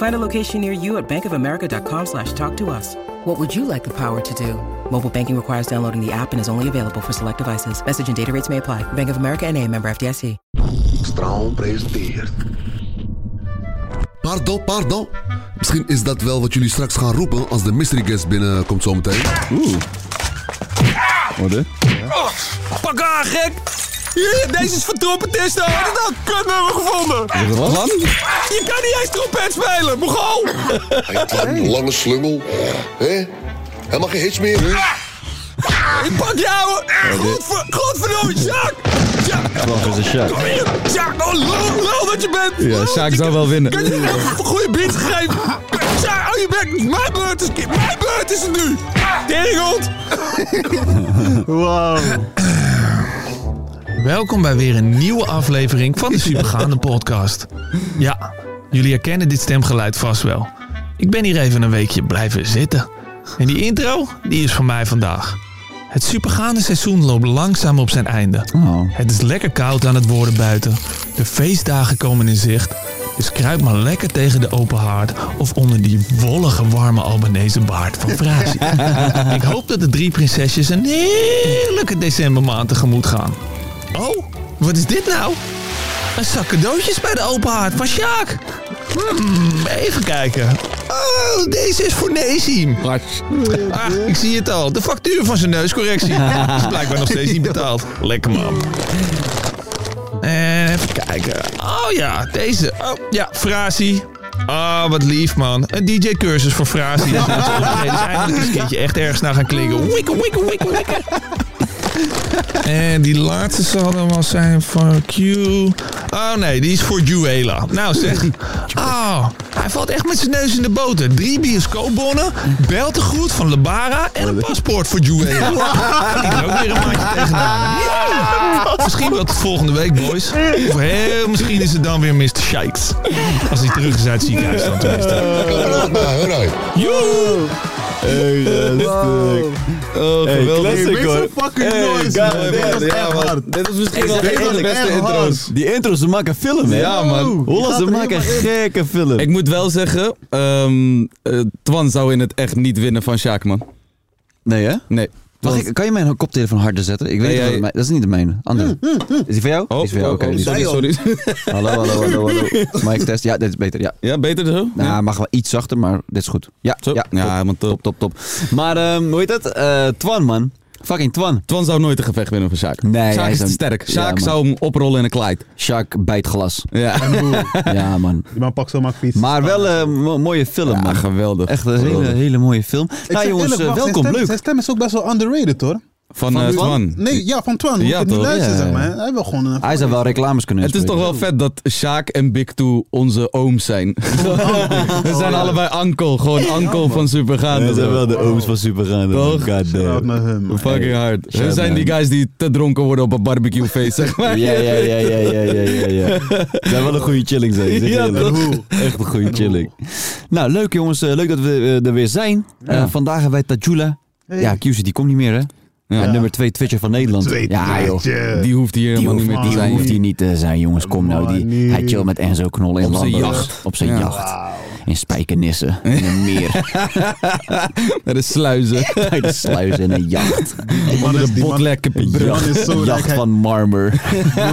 Find a location near you at bankofamerica.com slash talk to us. What would you like the power to do? Mobile banking requires downloading the app and is only available for select devices. Message and data rates may apply. Bank of America and a member FDIC. Straum presenteert. Pardon, pardon. Misschien is dat wel wat jullie straks gaan roepen als de mystery guest binnenkomt zometeen. Oeh. Wat hè? Oh, Pak aan, gek! Hier, Deze is van trompettisten. Heb je dat kutnummer gevonden? Heb je er last van? Je kan niet eens trompet spelen, Mogal! Hij klapt een lange slungel. Hé? Helemaal geen hits meer. Ik pak jou! Godver, godverdomme, Jack! Jack, Wat is een shot? kom hier! Jack, oh, lul, lul dat je bent! Ja, Lul Sjaak dat je- zou wel winnen. Kun je hem even een goede beat geven? Sjaak, hou je bek! Mijn beurt is, mijn beurt is het nu! Teringeld! Welkom bij weer een nieuwe aflevering van de Supergaande Podcast. Ja, jullie herkennen dit stemgeluid vast wel. Ik ben hier even een weekje blijven zitten. En die intro, die is van mij vandaag. Het supergaande seizoen loopt langzaam op zijn einde. Oh. Het is lekker koud aan het worden buiten. De feestdagen komen in zicht. Dus kruip maar lekker tegen de open haard of onder die wollige warme Albanese baard van Frazi. Ik hoop dat de drie prinsesjes een heerlijke decembermaand tegemoet gaan. Oh, wat is dit nou? Een zak cadeautjes bij de open haard van Sjaak. Hmm, even kijken. Oh, deze is voor Nezim. Ah, ik zie het al. De factuur van zijn neuscorrectie. Is blijkbaar nog steeds niet betaald. Lekker man. En even kijken. Oh ja, deze. Oh ja, Frazi. Oh, wat lief man. Een DJ-cursus voor Frazi. Dat is eindelijk eens een keertje echt ergens naar gaan klinken. Wikkel, wikkel, wikkel, wikkel. En die laatste zal dan wel zijn van Q. Oh nee, die is voor Juela. Nou zeg. Oh, hij valt echt met zijn neus in de boter. Drie bioscoopbonnen, beltegoed van Lebara en een paspoort voor Juela. Ik ben ook weer een maandje tegenaan. Ja. Misschien wel tot volgende week, boys. Of heel misschien is het dan weer Mr. Shikes. Als hij terug is uit het ziekenhuis dan tenminste. Joe! Hey, dat is sick. Oh, Hey, make some fucking noise, man. Dit was echt hard. Dit was misschien wel dit een van was de beste echt intro's. hard. Die intro's, ze maken film, hè? Ja, man. Holland, ze Die gaat er maken helemaal in. gekke film. Ik moet wel zeggen, ehm, eh, Twan zou in het echt niet winnen van Sjaak, man. Nee, hè? Nee. Mag Want- ik, kan je mijn koptelefoon harder zetten? Ik weet Nee, niet of jij- het mij- dat is niet de mijne. Mm, Andere. Is die van jou? Die is van jou. Oké, dus- die is- Oh, sorry, sorry. hallo, hallo, hallo, hallo. Mic test. Ja, dit is beter. Ja. Ja, beter zo? Nou, mag wel iets zachter, maar dit is goed. Ja, Zo. ja, Ja, eh, top, man, top. top, top, top. Maar ehm, hoe heet dat? Eh, Twan, man. Fucking Twan. Twan zou nooit een gevecht winnen van Sjaak. Nee, Sjaak hij is zou- te sterk. Ja, Sjaak man. zou hem oprollen in een kleid. Shark bijt glas. Ja. ja, man. Die man pakt zomaar fiets. Maar wel een mo- mooie film, Ja, man. geweldig. Echt een hele, Geweldig. hele mooie film. Ik nou zeg jongens, eerlijk, eh, wacht, welkom. Zijn stem, Leuk. zijn stem is ook best wel underrated hoor. Van, eh, Twan. Nee, ja, van Twan. Ja, Ja, toch? niet luisteren, Ja, zeg ja. maar. Hij wil gewoon een... Hij zou wel reclames kunnen Het is toch wel vet dat Sjaak en Big Two onze ooms zijn. We zijn allebei uncle. Gewoon uncle van Supergaande. Dat zijn bro. wel de ooms van Supergaande. man. Toch? God Shout-out damn. naar hem, man. Fucking hard. shout Hun zijn out. die guys die te dronken worden op een barbecuefeest, zeg maar. Ja, ja, ja, ja, ja, ja, ja, ja. Dat zou wel een goede chilling zijn. zeg Ja, eerlijk. toch? Echt een goede chilling. Nou, leuk jongens. eh, Leuk dat we eh, er weer zijn. Eh, vandaag hebben wij Tajula. Ja, QC, die komt niet meer, hè? Ja, Nummer 2 Twitcher van Nederland. Twee ja, joh. tweetje. Die hoeft hier helemaal niet meer te Die zijn. hoeft hier niet te zijn, jongens. Kom nou. Die, nee. hij chill met Enzo Knol in Op zijn Lamberg. jacht. Op zijn Ja. jacht. In Spijkenissen. In een meer. Dat is eh. sluizen. Bij de sluizen en een jacht. Die man Onder is- die man- de Die botlekkenbrug. man is zo rijk. Jacht hij- van Marmer.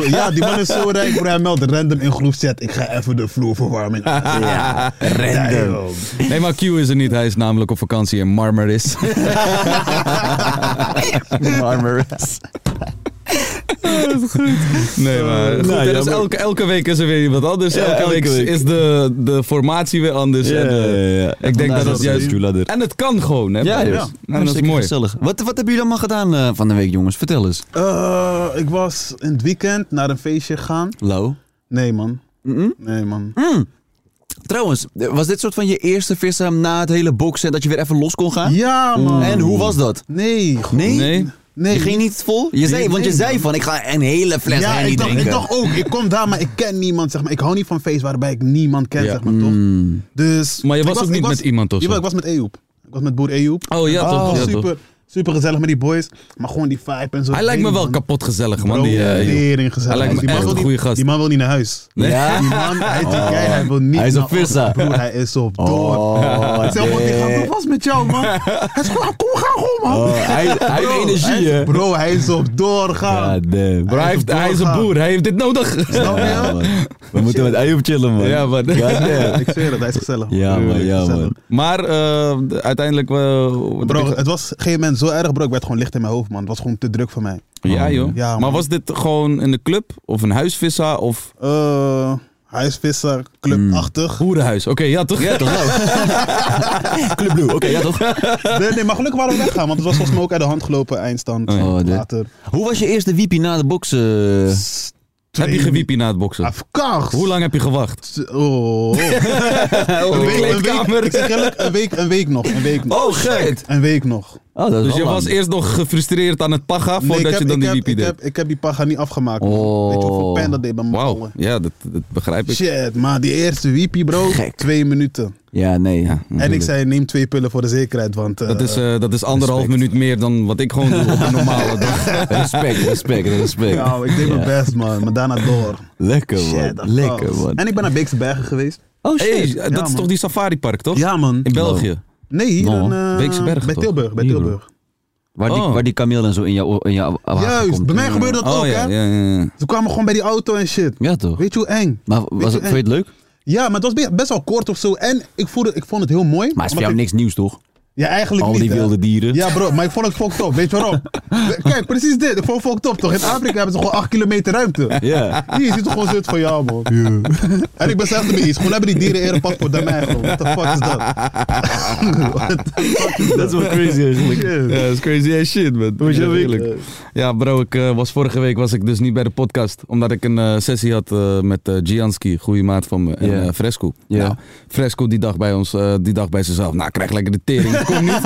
Ja, die man is zo rijk. Bro, hij meldt random in groep chat. Ik ga even de vloer verwarmen. Ja, Ja, random. joh. Nee, maar Q is er niet. Hij is namelijk op vakantie in Marmaris. Marmer. Nee, maar goed, Nou, hè, ja, dus maar- elke, elke week is er weer iemand anders. Ja, elke elke week, week. is de, de formatie weer anders. en, eh, Ik denk dat dat juist... En het kan gewoon, hè? Ja, dus. ja. En dat is mooi. Gezellig. Wat, wat hebben jullie allemaal gedaan eh, van de week, jongens? Vertel eens. Eh, ik was in het weekend naar een feestje gegaan. Lau. Mm. Nee, man. Nee, man. Trouwens, was dit soort van je eerste vissen na het hele boksen dat je weer even los kon gaan? Ja, man. En hoe was dat? Nee. goed. Nee? Nee? Nee. Je ging niet vol? Je zei, Nee, want je nee, zei man. van, ik ga een hele fles ja, Henny ik dacht, drinken. ik dacht ook, ik kom daar, maar ik ken niemand, zeg maar. Ik hou niet van feest waarbij ik niemand ken, Ja. zeg maar, toch? Mm. Dus, Maar je ik was ook ik niet met iemand of zo? Jawel, ik was met Ejoep. Ik was met boer Ejoep. Oh, ja, Het toch, was ja, toch. super, super gezellig met die boys, maar gewoon die vibe en zo. Hij lijkt me wel kapot gezellig, man. Die, eh, joh. Hij lijkt me die man echt wil een niet- goeie gast. Die man wil niet naar huis. Nee? Ja? Die man, hij, is die guy, hij wil niet Oh. Hij is naar een visser. Broer, hij is op door. Oh, Ik zeg, man, die gaat nee. wel vast met jou, man. Hij is gewoon, kom, ga gewoon, man. Oh, hij, hij heeft Bro, energie, hij- hè? Bro, hij is op doorgaan. Ja, damn. Bro, hij, heeft, hij is een boer, hij heeft dit nodig. Snap je? Ja, man. We moeten met Ayoub chillen, man. Ja, man. God damn. Ik zweer het, hij is gezellig. Ja, man, ja, Gezellig. man. Maar eh, de- uiteindelijk... eh, wat Bro, heb ik- het was op een gegeven moment zo erg, bro. Ik werd gewoon licht in mijn hoofd, man. Het was gewoon te druk voor mij. Oh, ja, joh. Ja, maar man. was dit gewoon in de club? Of een huisvissa? Of Eh, hij is visser, clubachtig. boerenhuis? Hmm. Oké, ja toch? Ja, toch? Ah, Club Blue, oké, ja toch? Nee, nee, maar gelukkig waren we weggaan, want het was volgens mij ook uit de hand gelopen eindstand. Oh, dit. Later. Hoe was je eerste wiepie na de boksen? heb je gewiepie na het boksen? Afkars. Hoe lang heb je gewacht? Oh. een, Oh. week, een, week, kleedkamer. ik zeg eerlijk, een, week, een week nog. Een week nog. Oh, gek! Een week nog. Oh, dat is Dus je wel was lang. eerst nog gefrustreerd aan het paga Nee, voordat ik heb- je ik dan die heb- wiepie ik deed? heb, ik heb die paga niet afgemaakt. man. Oh. Weet je hoeveel pijn dat deed bij mijn Wauw, mouwen? ja, dat, dat begrijp ik. Shit, maar die eerste wiepie, bro. Gek. Twee minuten. Ja, nee. En ik natuurlijk. zei, neem twee pillen voor de zekerheid, want... eh, Dat is, eh, dat is anderhalf respect. minuut meer dan wat ik gewoon doe op een normale dag. Respect, respect, respect. Nou, ik deed mijn best, man. Maar daarna door. Lekker, man. Shit, dat Lekker, was. man. En ik ben naar Beekse Bergen geweest. Oh, Hey, shit. dat Ja, is toch man. die safaripark, toch? Ja, man. In België. Nee, hier No. in... eh, Beekse Bergen, Bij toch? Tilburg, bij Hier, Tilburg. Waar, die, Oh. waar die kameel en zo in jouw in jou, Oh, Juist, bij mij gebeurde dat ook, ja, hè. ja, ja. ja. Ze kwamen gewoon bij die auto en shit. Ja, toch? Weet je hoe eng? Maar Weet was je, het, vond je het leuk? Ja, maar het was be- best wel kort of zo. En ik, voelde, ik vond het heel mooi. Maar het is voor Omdat jou ik- niks nieuws, toch? Ja, eigenlijk Al niet. die hè. wilde dieren. Ja, bro, maar ik vond het fucked up. Weet je waarom? Kijk, precies dit. Ik vond het fucked up, toch? In Afrika hebben ze gewoon 8 kilometer ruimte. Ja. Hier zit er gewoon zoiets van, ja, man. En ik besefte me iets. Gewoon hebben die dieren eerder paspoort dan mij, gewoon. What the fuck is dat? What the fuck is dat? is wel crazy eigenlijk. Ja, dat is crazy as shit, man. Hoe je week? Ja, bro, ik, eh, was vorige week was ik dus niet bij de podcast. Omdat ik een eh, sessie had eh, met eh, Gianski, goede maat van me, en Ja. eh, Fresco. Ja. Nou, Fresco die dag bij ons, eh, die dag bij zichzelf. Nou, krijg lekker de tering, kom niet.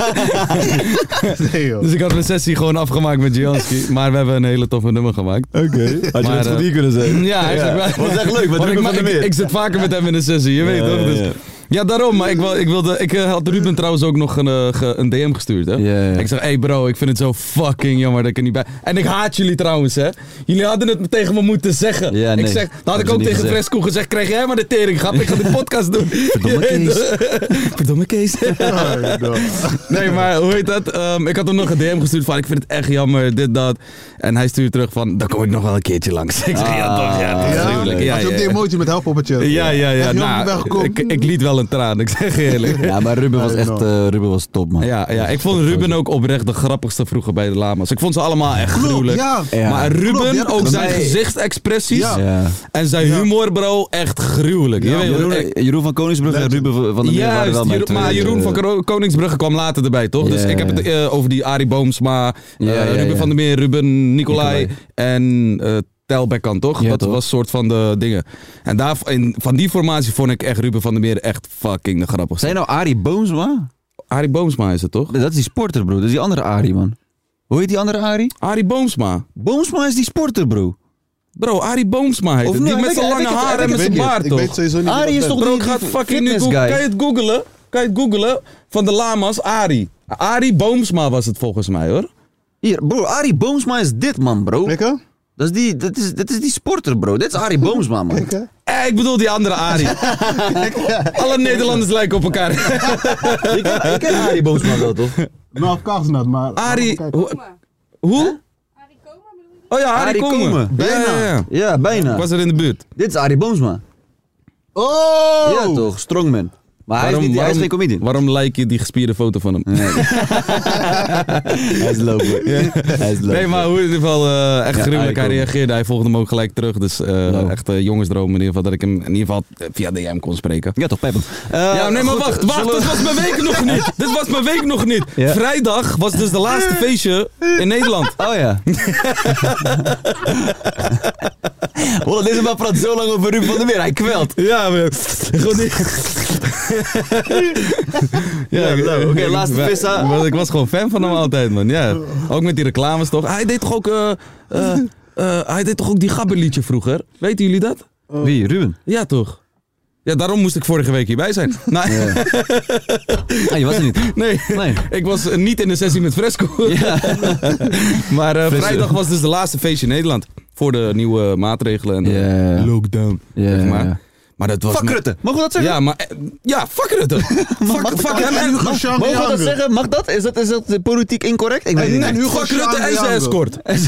Nee, joh. Dus ik had mijn sessie gewoon afgemaakt met Gianski. Maar we hebben een hele toffe nummer gemaakt. Oké. Had je Maar, het eh, voor die kunnen zijn? Ja, eigenlijk wel. Was echt leuk, wat Want heb ik, ik ma- van de ik- meer? ik zit vaker met hem in een sessie, je weet Ja, toch? ja, Dus- ja. Ja, daarom. Maar ik, wil, ik, wilde, ik eh, had Ruben trouwens ook nog een, eh, ge- een DM gestuurd. Hè? Ja, ja. Ik zeg, hey bro, ik vind het zo fucking jammer dat ik er niet bij... En ik haat jullie trouwens, hè. Jullie hadden het tegen me moeten zeggen. Ja, nee. ik zeg, dan had Hebben ik ze ook niet tegen gezegd. Fresco gezegd, krijg jij maar de tering, grap. Ik ga de podcast doen. Verdomme Je weet Kees. toch? Verdomme Kees. Nee, maar hoe heet dat? Ehm, ik had hem nog een DM gestuurd van ik vind het echt jammer, dit, dat. En hij stuurt terug van, dan kom ik nog wel een keertje langs. Ik zeg, ja toch, ja toch. Ah, Ja, tuurlijk. Ja, als je op die ja. emotie met help op het je. Ja, ja, Heb je ja. ook niet Nou, weggekomen? ik, ik liet wel een traan, ik zeg je eerlijk. Ja, maar Ruben was echt eh, Ruben was top, man. Ja, ja, ik vond Ruben ook oprecht de grappigste vroeger bij de lama's. Ik vond ze allemaal echt gruwelijk. ja. Ja. Maar Klopt, ja, Ruben, dat ook klopt. zijn Nee. gezichtsexpressies Ja. Ja. en zijn humor, bro, echt gruwelijk. Je weet wel, Jeroen, Jeroen van Koningsbrug en Ruben van- van der Meer waren wel Juist, mijn Jeroen- twee, maar Jeroen eh, van Kro- Koningsbrugge kwam later erbij, toch? Ja, Dus ik heb ja, het eh, over die Arie Boomsma, eh, Ja, ja, Ruben ja. van der Meer, Ruben Nicolai Nicolai. en eh Telbekkan, toch? Ja, dat toch? was soort van de dingen. En daar, in, van die formatie vond ik echt Ruben van der Meer echt fucking de grappigste. Zijn nou Arie Boomsma? Arie Boomsma is het, toch? Dat is die sporter, bro. Dat is die andere Arie, man. Hoe heet die andere Arie? Arie Boomsma. Boomsma is die sporter, bro. Bro, Arie Boomsma heet Of het. nee, Die nou, met ik- zijn ik- lange ik- ik- haren en ik- met ik- zijn ik- baard, Ik toch? weet sowieso niet wie Arie dat is bent. toch Bro, die ik ga het die fucking nu fitness googlen. guy? Kan je het googelen? Kan je het googelen? Van de lama's, Arie. Arie Boomsma was het volgens mij, hoor. Hier, bro, Arie Boomsma is dit, man, bro. Kijk, hè? Dat is die, dat is, dat is die sporter, bro. Dit is Arie Boomsma, man. Kijk, hè? Eh, ik bedoel die andere Arie. Alle Nederlanders lijken op elkaar. Ik ken- ik ken Arie Boomsma wel, toch? Nou, of kaas net, maar... Arie. Kijk. hoe- Hoe? Oh ja, Arie, Arie Komen. Komen. Bijna. Ja, ja, ja. Ja, bijna. Ik was er in de buurt. Dit is Arie Boomsma. Oh! Ja, toch? Strongman. Maar hij is, niet, hij is geen comedian. Waarom like je die gespierde foto van hem? Hij is lopen. Hij is lopen. Nee, maar hoe in ieder geval eh, echt Ja, gruwelijk. Hij icon. reageerde. Hij volgde hem ook gelijk terug. Dus eh, Nou. echt eh, jongensdroom in ieder geval. Dat ik hem in ieder geval eh, via DM kon spreken. Ja, toch, Pep. Eh, ja, nee, maar wacht, wacht. Dit was mijn week nog niet. Dit was mijn week nog niet. Ja. Vrijdag was dus de laatste feestje in Nederland. Oh ja. Holland, deze man praat zo lang over Ruud van der Meer. Hij kwelt. Ja, maar... Gewoon Ja, nou, oké, laatste vissa. Maar ik was gewoon fan van hem altijd, man. Ja. Ook met die reclames toch. Hij deed toch ook... eh, eh, eh, hij deed toch ook die gabberliedje vroeger? Weten jullie dat? Wie? Ruben? Ja, toch? Ja, daarom moest ik vorige week hierbij zijn. Nou, Ah, je was er niet. nee. Nee. Ik was eh, niet in de sessie met Fresco. Maar eh, vrijdag was dus de laatste feestje in Nederland. Voor de nieuwe maatregelen en de Ja. lockdown. Ja. Zeg maar. maar dat was... Fuck me- Rutte. Mogen we dat zeggen? Ja, maar... eh, Ja, fuck Rutte. fuck fuck hem en... Hugo Fuck Chang Mogen we dat Jango. zeggen? Mag dat? Is dat, is dat politiek incorrect? Ik weet het niet. Hugo Rutte en zijn Chang Jango. escort. En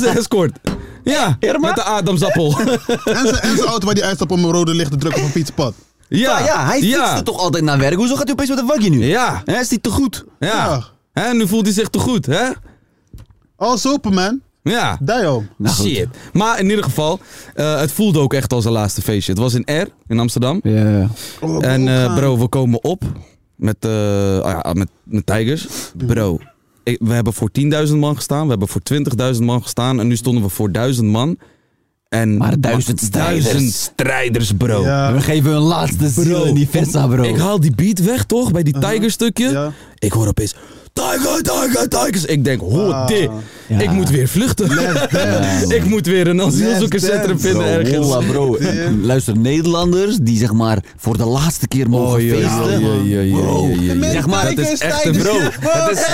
zijn escort. Ja, Irma? met de Adamsappel. En zijn- En zijn auto waar die uitstapt om een rode licht te drukken op een fietspad. ja, Ja, ja, hij fietste ja. toch altijd naar werk. Hoezo gaat hij opeens met een waggie nu? Ja, Hè, is die te goed? ja. Ja. Hè, nu voelt hij zich te goed, hè? All open, man. Ja. Daarom. Nou, goed. Shit. Maar in ieder geval, eh, het voelde ook echt als een laatste feestje. Het was in R, in Amsterdam. Ja. En eh, bro, we komen op met, eh, ah ja, met, met Tigers. Bro, ik- we hebben voor 10.000 man gestaan. We hebben voor 20.000 man gestaan. En nu stonden we voor 1000 man. En Maar 1000 strijders. Duizend strijders, bro. Ja. We geven een laatste ziel in die vissa, bro. Ik haal die beat weg, toch? Bij die Tiger stukje. Uh-huh. Ja. Ik hoor opeens... Tiger, Tiger, Tigers. Ik denk, hoor dit. Ja. Oh, Ik moet weer vluchten. ik moet weer een asielzoekerscentrum dance. vinden Bro, ergens. holla, Oh, bro. Luister, Nederlanders die zeg maar voor de laatste keer mogen Oh, ja, feesten. ja, ja, ja, Bro, ja, ja, ja. Zeg maar, dat is echt een bro. Dat is,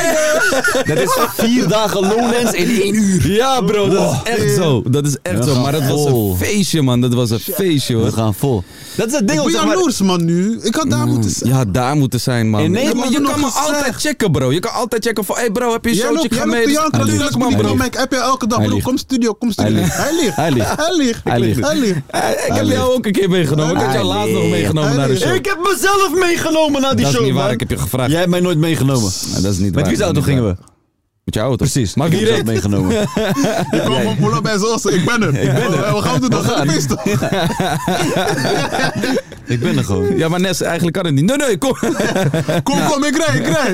dat is vier dagen Lowlands in één uur. Oh. Ja, bro, dat Wow. is echt zo. Dat is echt We zo. gaan Maar dat was vol. een feestje, man. Dat was een feestje, We hoor. gaan vol. Dat is het ding, Ik ben zeg maar. jaloers, man, nu. Ik had Mm. daar moeten zijn. Ja, daar moeten zijn, man. In Ja, Nederland maar je nog kan me gezegd. altijd checken, bro. Je kan altijd checken van, hey bro, heb je een Jij showtje? loopt, Ik ga jij mee. loopt Jan Hij Kralunas liegt, met die man. bro, ik app je elke dag, bro, liegt. kom studio, kom studio. Hij ligt, hij ligt, hij ligt, hij ligt. ligt, hij ligt. Eh, Ik heb jou ook een keer meegenomen. Ik heb Hij jou laatst nog liegt. meegenomen Hij naar de liegt. show. heb mezelf meegenomen naar Dat is niet waar, ik heb je gevraagd. Jij hebt mij nooit meegenomen. Nou, dat is niet Met waar, wie dat auto is niet gingen we? waar. Met jou auto. Precies. Maar ik wie heb mezelf reed? meegenomen? Ik kwam van Polo bij Zossen, ik ben er. Ik ben er. We gaan doen, we gaan feesten. ik ben er gewoon. Ja, maar Nes, eigenlijk kan het niet. Nee, nee, kom. Kom, kom, ik rij, ik rij.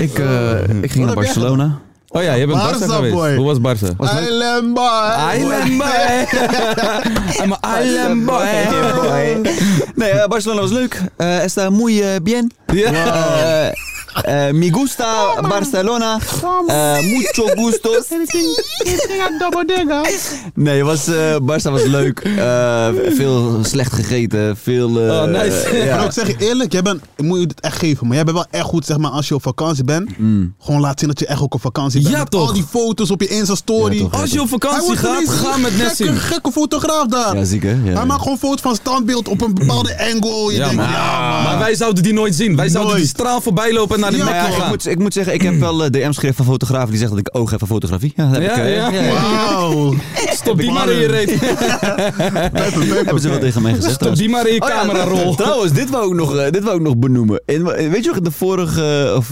Ik, eh, ik ging naar heb jij Barcelona. Oh ja, jij bent Barca, Barca geweest. boy. Hoe was Barca? Island boy. Island boy. I'm a island boy. Nee, eh, Barcelona was leuk. Eh está muy eh, bien. Eh, eh, me gusta Barcelona. Eh, mucho gusto. Nee, het was, eh Barça was leuk. Eh, veel slecht gegeten. Veel. eh, Oh, nice. eh, Maar ja. ik zeg je eerlijk, jij bent, ik moet je dit echt geven, maar jij bent wel echt goed, zeg maar, als je op vakantie bent. Gewoon laat zien dat je echt ook op vakantie bent. Mm. Ja, Met toch? Al die foto's op je Insta-story. Ja, toch, Als je op Hij vakantie wordt gaat, ineens ga met Nes gekke, zien. gekke fotograaf daar. Ja, ziek hè? Ja, Hij ja. maakt gewoon foto's van standbeeld op een bepaalde angle. Je Ja, denkt, maar, ja, man. maar wij zouden die nooit zien. Wij zouden Nooit. die straal voorbij lopen en naar de Ja, ja, Nou ja, ik, gaan. moet, ik moet zeggen, ik heb wel eh, DM's gekregen van fotografen die zeggen dat ik oog heb voor fotografie. Ja, dat heb Ja, ik, eh, ja. Wauw. Stop die maar in je reet. Pijpen, pijpen. Hebben ze wel tegen mij gezegd. Stop trouwens. die maar in je Oh ja, camerarol. Trouwens, dit wou ik nog, eh, dit wou ik nog benoemen. In, eh, weet je nog, in de vorige... eh, Of,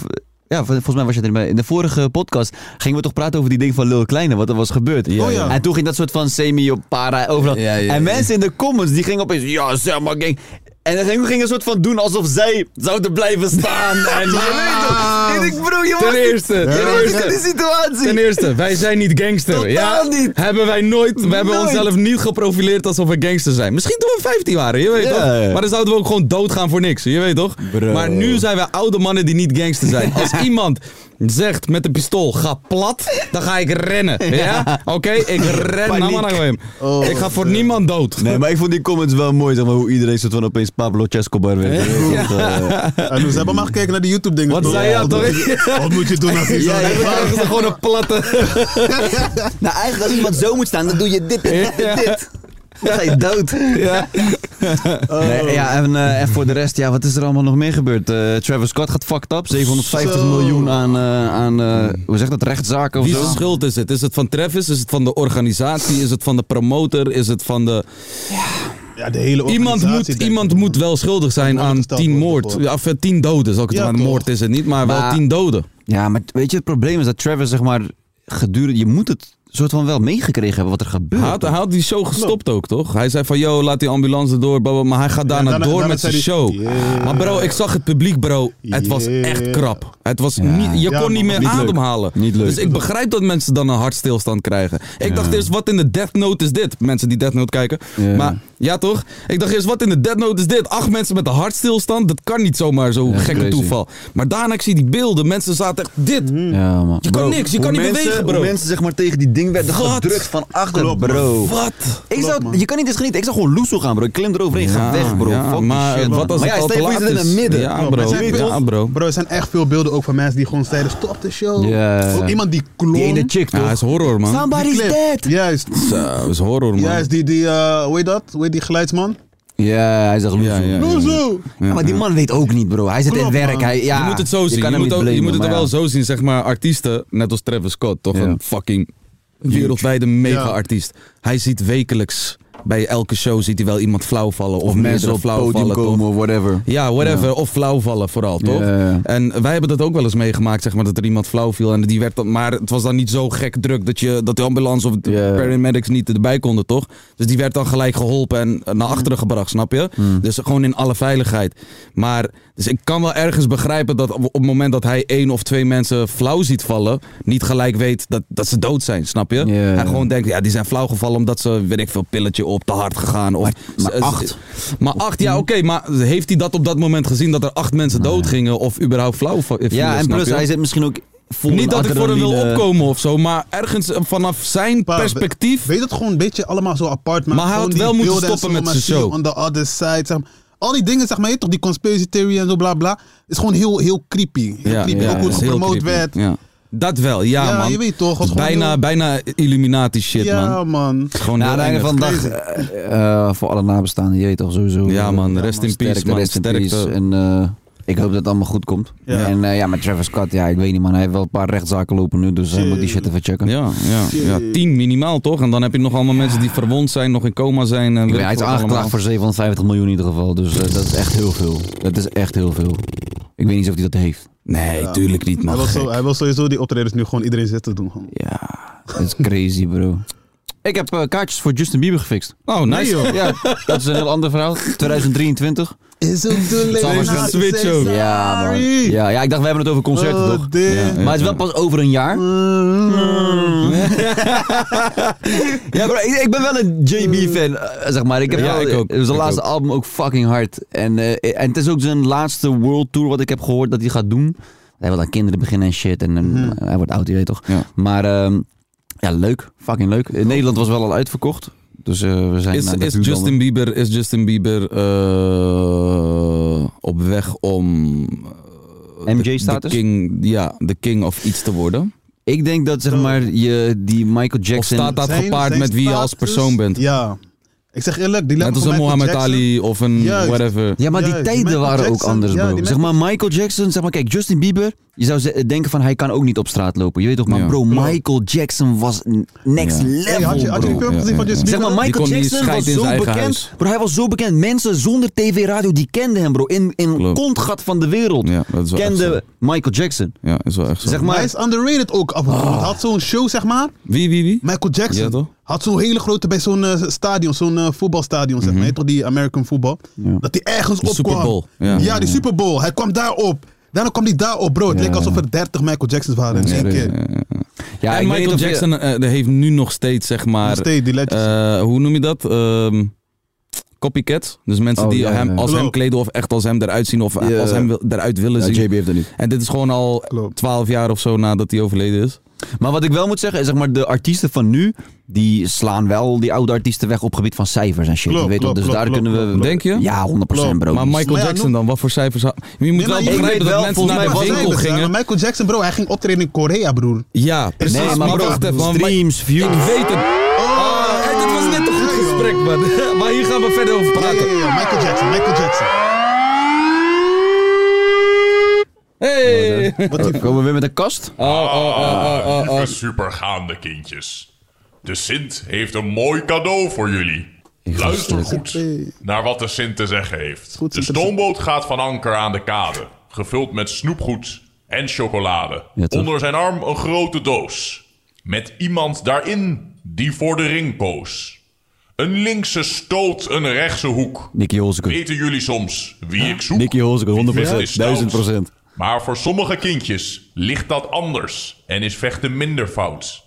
ja, volgens mij was je erbij. In de vorige podcast gingen we toch praten over die ding van Lil Kleine, wat er was gebeurd. Oh ja. En toen ging dat soort van semi op para overal. Ja, ja, en ja. mensen in de comments, die gingen opeens, ja, zeg maar, gang. En dan gingen gingen een soort van doen alsof zij zouden blijven staan. En je weet toch? Ik denk, bro, je mag Ten niet- eerste, je ten mag niet in eerste. die situatie. Ten eerste, wij zijn niet gangster. Totaal ja, niet. Hebben wij nooit. We hebben Nooit. onszelf niet geprofileerd alsof we gangster zijn. Misschien toen we 15 waren, je weet Ja, toch? ja. Maar dan zouden we ook gewoon doodgaan voor niks, je weet toch? Bro. Maar nu zijn wij oude mannen die niet gangster zijn. Als iemand zegt met een pistool, ga plat, dan ga ik rennen. Ja? Oké, ik ren naar Paniek. Mannheim. Oh, ik ga voor niemand dood. Nee, maar ik vond die comments wel mooi, zeg maar, hoe iedereen soort van opeens Pablo Escobar werd. eh. Ja. En dus ze hebben maar gekeken naar die YouTube-dingen. Wat toch? zei jij toch? moet je- Wat moet je doen als je zo... Ja, ja. Krijgen ze gewoon een platte. Nou, eigenlijk als iemand zo moet staan, dan doe je dit, dit, dit, dit. dit. Dan ga je dood. Ja, nee, ja en, eh, en voor de rest, ja, wat is er allemaal nog meer gebeurd? Eh, Travis Scott gaat fucked up. 750 Zo. miljoen aan, eh, aan eh, hoe zeg dat, rechtszaken of Wie zo. zijn schuld is het? Is het van Travis? Is het van de organisatie? Is het van de promotor? Is het van de. Ja, de hele Iemand, moet, organisatie, denk iemand ik, moet man. wel schuldig zijn Moet aan aangesteld tien worden moord. voor. Ja, Of eh, tien doden, zal ik het Ja, maar. toch. Moord is het niet, maar wel Maar- tien doden. Ja, maar weet je, het probleem is dat Trevor, zeg maar, gedurende... Je moet het soort van wel meegekregen hebben wat er gebeurt. Hij had, hij had die show gestopt Nou. ook, toch? Hij zei van, yo, laat die ambulance door, bla, bla, maar hij gaat daarna daarna- door daarna met zijn zei hij- show. Yeah. Maar bro, ik zag het publiek, bro. Het was Yeah. echt krap. Het was niet, je Ja, kon niet man, meer niet leuk. ademhalen. Niet leuk. Dus ik begrijp dat mensen dan een hartstilstand krijgen. Ik dacht eerst, wat in de Death Note is dit? Mensen die Death Note kijken. Ja. Maar ja, toch? Ik dacht eerst, wat in de Death Note is dit? Acht mensen met een hartstilstand, dat kan niet zomaar zo gekke crazy. toeval. Maar daarna, ik zie die beelden. Mensen zaten echt dit. Ja, man. Je kan niks, je Hoe kan niet mensen- bewegen, hoe bro. mensen zeg maar tegen die ding werden Wat? gedrukt van achter, bro. Wat? Ik zou, je kan niet eens genieten. Ik zou gewoon loeso gaan, bro. Ik klim eroverheen. Ja, ga weg, bro. ja, Fuck die maar shit, wat man. als maar het ja, al stel je te voor je laat zit in is? het midden. Ja. Ja, bro. maar zijn Ja, veel- bro. er zijn echt veel beelden ook van mensen die gewoon zeiden, stop de show. Ja. Ook iemand die klom. Die ene chick, Ja, toch? hij is horror, man. Somebody's clip. dead. Juist. Ja, dat is horror, man. Juist, die, die eh, hoe heet dat? Hoe heet die geluidsman? Ja, hij zegt loeso. Ja, ja, ja. Loezo! Ja, maar die man weet ook niet, bro. Hij zit Klopt, in werk. man. Hij, ja, je moet het zo zien. Je, kan hem moet, niet ook, je blamen, moet het er maar wel ja. zo zien, zeg maar. Artiesten, net als Travis Scott, toch Ja. een fucking wereldwijde mega-artiest. Hij ziet wekelijks, bij elke show ziet hij wel iemand flauw vallen. Of, mensen Mensen op op het flauw podium vallen, toch? komen of whatever. Ja, whatever. Of flauw vallen vooral, toch? Ja, ja. En wij hebben dat ook wel eens meegemaakt, zeg maar, dat er iemand flauw viel. En die werd dan, maar het was dan niet zo gek druk dat, je, dat de ambulance of de Ja. paramedics niet erbij konden, toch? Dus die werd dan gelijk geholpen en Mm. eh, naar achteren gebracht, snap je? Dus gewoon in alle veiligheid. Maar, dus ik kan wel ergens begrijpen dat op op het moment dat hij één of twee mensen flauw ziet vallen, niet gelijk weet dat, dat ze dood zijn, snap je? Ja, ja. Hij gewoon denkt, ja, die zijn flauw gevallen omdat ze, weet ik veel, pilletje op, te hard gegaan. Of, maar acht. maar acht, ja, oké, maar heeft hij dat op dat moment gezien dat er acht mensen doodgingen of überhaupt flauw va- vielen? Nou Ja, en snap plus je? hij zit misschien ook vol in Niet dat ik voor hem wil adrenaline. opkomen of zo, maar ergens eh, vanaf zijn Pa, perspectief. Weet het gewoon een beetje allemaal zo apart. Maar, Maar hij gewoon had die wel moeten beelden en stoppen zo, met maar zijn see show. On the other side, zeg maar. Al die dingen, zeg maar, je weet toch, die conspiracy theory en zo, bla bla. Is gewoon heel, heel creepy. Heel Ja, creepy. ja, ook hoe het is heel gepromoot creepy. werd. Ja. Dat wel, ja, Ja, man. je weet toch, het is gewoon bijna, heel- bijna Illuminati shit, Ja, man. man. Gewoon Na heel het einde eng. van de dag, eh, eh, voor alle nabestaanden, je weet toch sowieso. Ja, man, rest in peace, Sterkte, man. rest in peace. Sterkte. En eh, ik hoop dat het allemaal goed komt. Ja. En eh, ja, met Travis Scott, ja, ik weet niet, man. Hij heeft wel een paar rechtszaken lopen nu, dus hij moet die shit even checken. Ja, ja, ja, tien minimaal toch? En dan heb je nog allemaal mensen die verwond zijn, nog in coma zijn. En Ik weet weet, hij ik is wat aangeklaagd allemaal. voor 750 miljoen in ieder geval, dus eh, dat is echt heel veel. Dat is echt heel veel. Ik weet niet of hij dat heeft. Nee, tuurlijk niet, Hij man. wil, zo, Gek. hij wil sowieso die optredens nu gewoon iedereen zitten doen. Gewoon. Ja, dat is crazy, bro. Ik heb eh, kaartjes voor Justin Bieber gefixt. Oh, nice. Ja, dat is een heel ander verhaal. 2023. Is het de zal maar leven? zo'n switch ook. Ja, man. Ja, ja, ik dacht, we hebben het over concerten, Oh, toch? dit. Maar het is wel pas over een jaar. Mm. ja, bro, ik, ik ben wel een JB-fan, eh, zeg maar. Ik heb Mm. Ja, wel- ik ook. Het was zijn Ik laatste album ook fucking hard. En, eh, en het is ook zijn laatste world tour wat ik heb gehoord dat hij gaat doen. Hij wil aan kinderen beginnen en shit. En, en hij wordt oud, je weet toch. Mhm. Ja. Maar ehm, ja, leuk. Fucking leuk. In Nederland was wel al uitverkocht. Dus eh, we zijn Is, naar de is, buurlanden. Justin Bieber, is Justin Bieber eh, op weg om eh, MJ de- de status? king, ja, de king of iets te worden? Ik denk dat zeg Zo. maar je die Michael Of Jackson. staat dat gepaard met wie je als persoon bent? Ja. Ik zeg eerlijk, die Net level als van Michael een Muhammad Jackson- Ali of een Juist. whatever. Ja, maar die Juist, tijden Michael waren ook Jackson, anders, ja, bro. die zeg maar, Michael- Michael Jackson, zeg maar, kijk, Justin Bieber. Je zou ze- denken van hij kan ook niet op straat lopen. Je weet toch, maar Ja. bro, Michael Jackson was n- next Ja. level. Hey, had je, had je die bro. film Ja, gezien van ja, Justin Zeg maar, Bieber? Die kon Michael niet eens Jackson was scheiden in zo zijn eigen bekend. huis. Bro, hij was zo bekend. Mensen zonder tv-radio, die kenden hem, bro. In, in Klopt. kontgat van de wereld Ja, dat is wel echt zo. kenden Michael Jackson. Ja, is wel echt zo. Zeg maar, Hij is underrated ook af en toe. want hij had zo'n show, zeg maar. Ah. wie, wie, wie? Michael Jackson Ja, toch? had zo'n hele grote bij zo'n eh, stadion, zo'n eh, voetbalstadion, zeg maar, hè, toch die American voetbal. Dat hij ergens Mhm. Die opkwam. Super Bowl, ja. Ja, die Super Bowl. Hij kwam daarop. Daarna kwam hij daarop, bro. Het leek alsof er 30 Michael Jacksons waren in één keer. ja, en ik weet niet Michael of je- Jackson eh, die heeft nu nog steeds, zeg maar... Nog steeds, die legends. eh, hoe noem je dat? Ehm, copycats. Dus mensen Oh, die ja, hem, ja. als hem Klopt. kleden of echt als hem eruit zien of eh, Ja. als hem wil- eruit willen Ja, zien. JB heeft dat niet. En dit is gewoon al Klopt. 12 jaar of zo nadat hij overleden is. Maar wat ik wel moet zeggen, is zeg maar, de artiesten van nu, die slaan wel die oude artiesten weg op het gebied van cijfers en shit. Klopt, je weet toch, klopt, dus klopt, daar klopt, kunnen we... klopt, klopt. Eh, Denk je? Ja, 100% bro. Maar Michael Maar Nou ja, Jackson noem- dan, wat voor cijfers... had- Je moet maar wel ik weet begrijpen dat wel, mensen volgens naar mij de was hij winkel Zij bezig, gingen. maar Michael Jackson, bro, hij ging optreden in Korea, broer. Ja, precies. Nee, maar bro, wacht even, man. streams, Ik views. weet het. Oh, hey, dit was net een goed gesprek, man. Maar hier gaan we verder over Ja, ja, praten. ja, Michael Jackson, Michael Jackson. Hey! Wat, Komen we weer met een kast? Oh, oh, oh, oh, oh, Ah, oh. Supergaande kindjes. De Sint heeft een mooi cadeau voor jullie. Luister ingestuurd. goed naar wat de Sint te zeggen heeft. Goed, de Sint. stoomboot gaat van anker aan de kade. Gevuld met snoepgoed en chocolade. Ja, toch? Onder zijn arm een grote doos. Met iemand daarin die voor de ring koos. Een linkse stoot, een rechtse hoek. Nicky Holzeke. Weten jullie soms wie ik zoek? Nicky Holzeke, 100%. Ja. 1000%. nou- Maar voor sommige kindjes ligt dat anders en is vechten minder fout.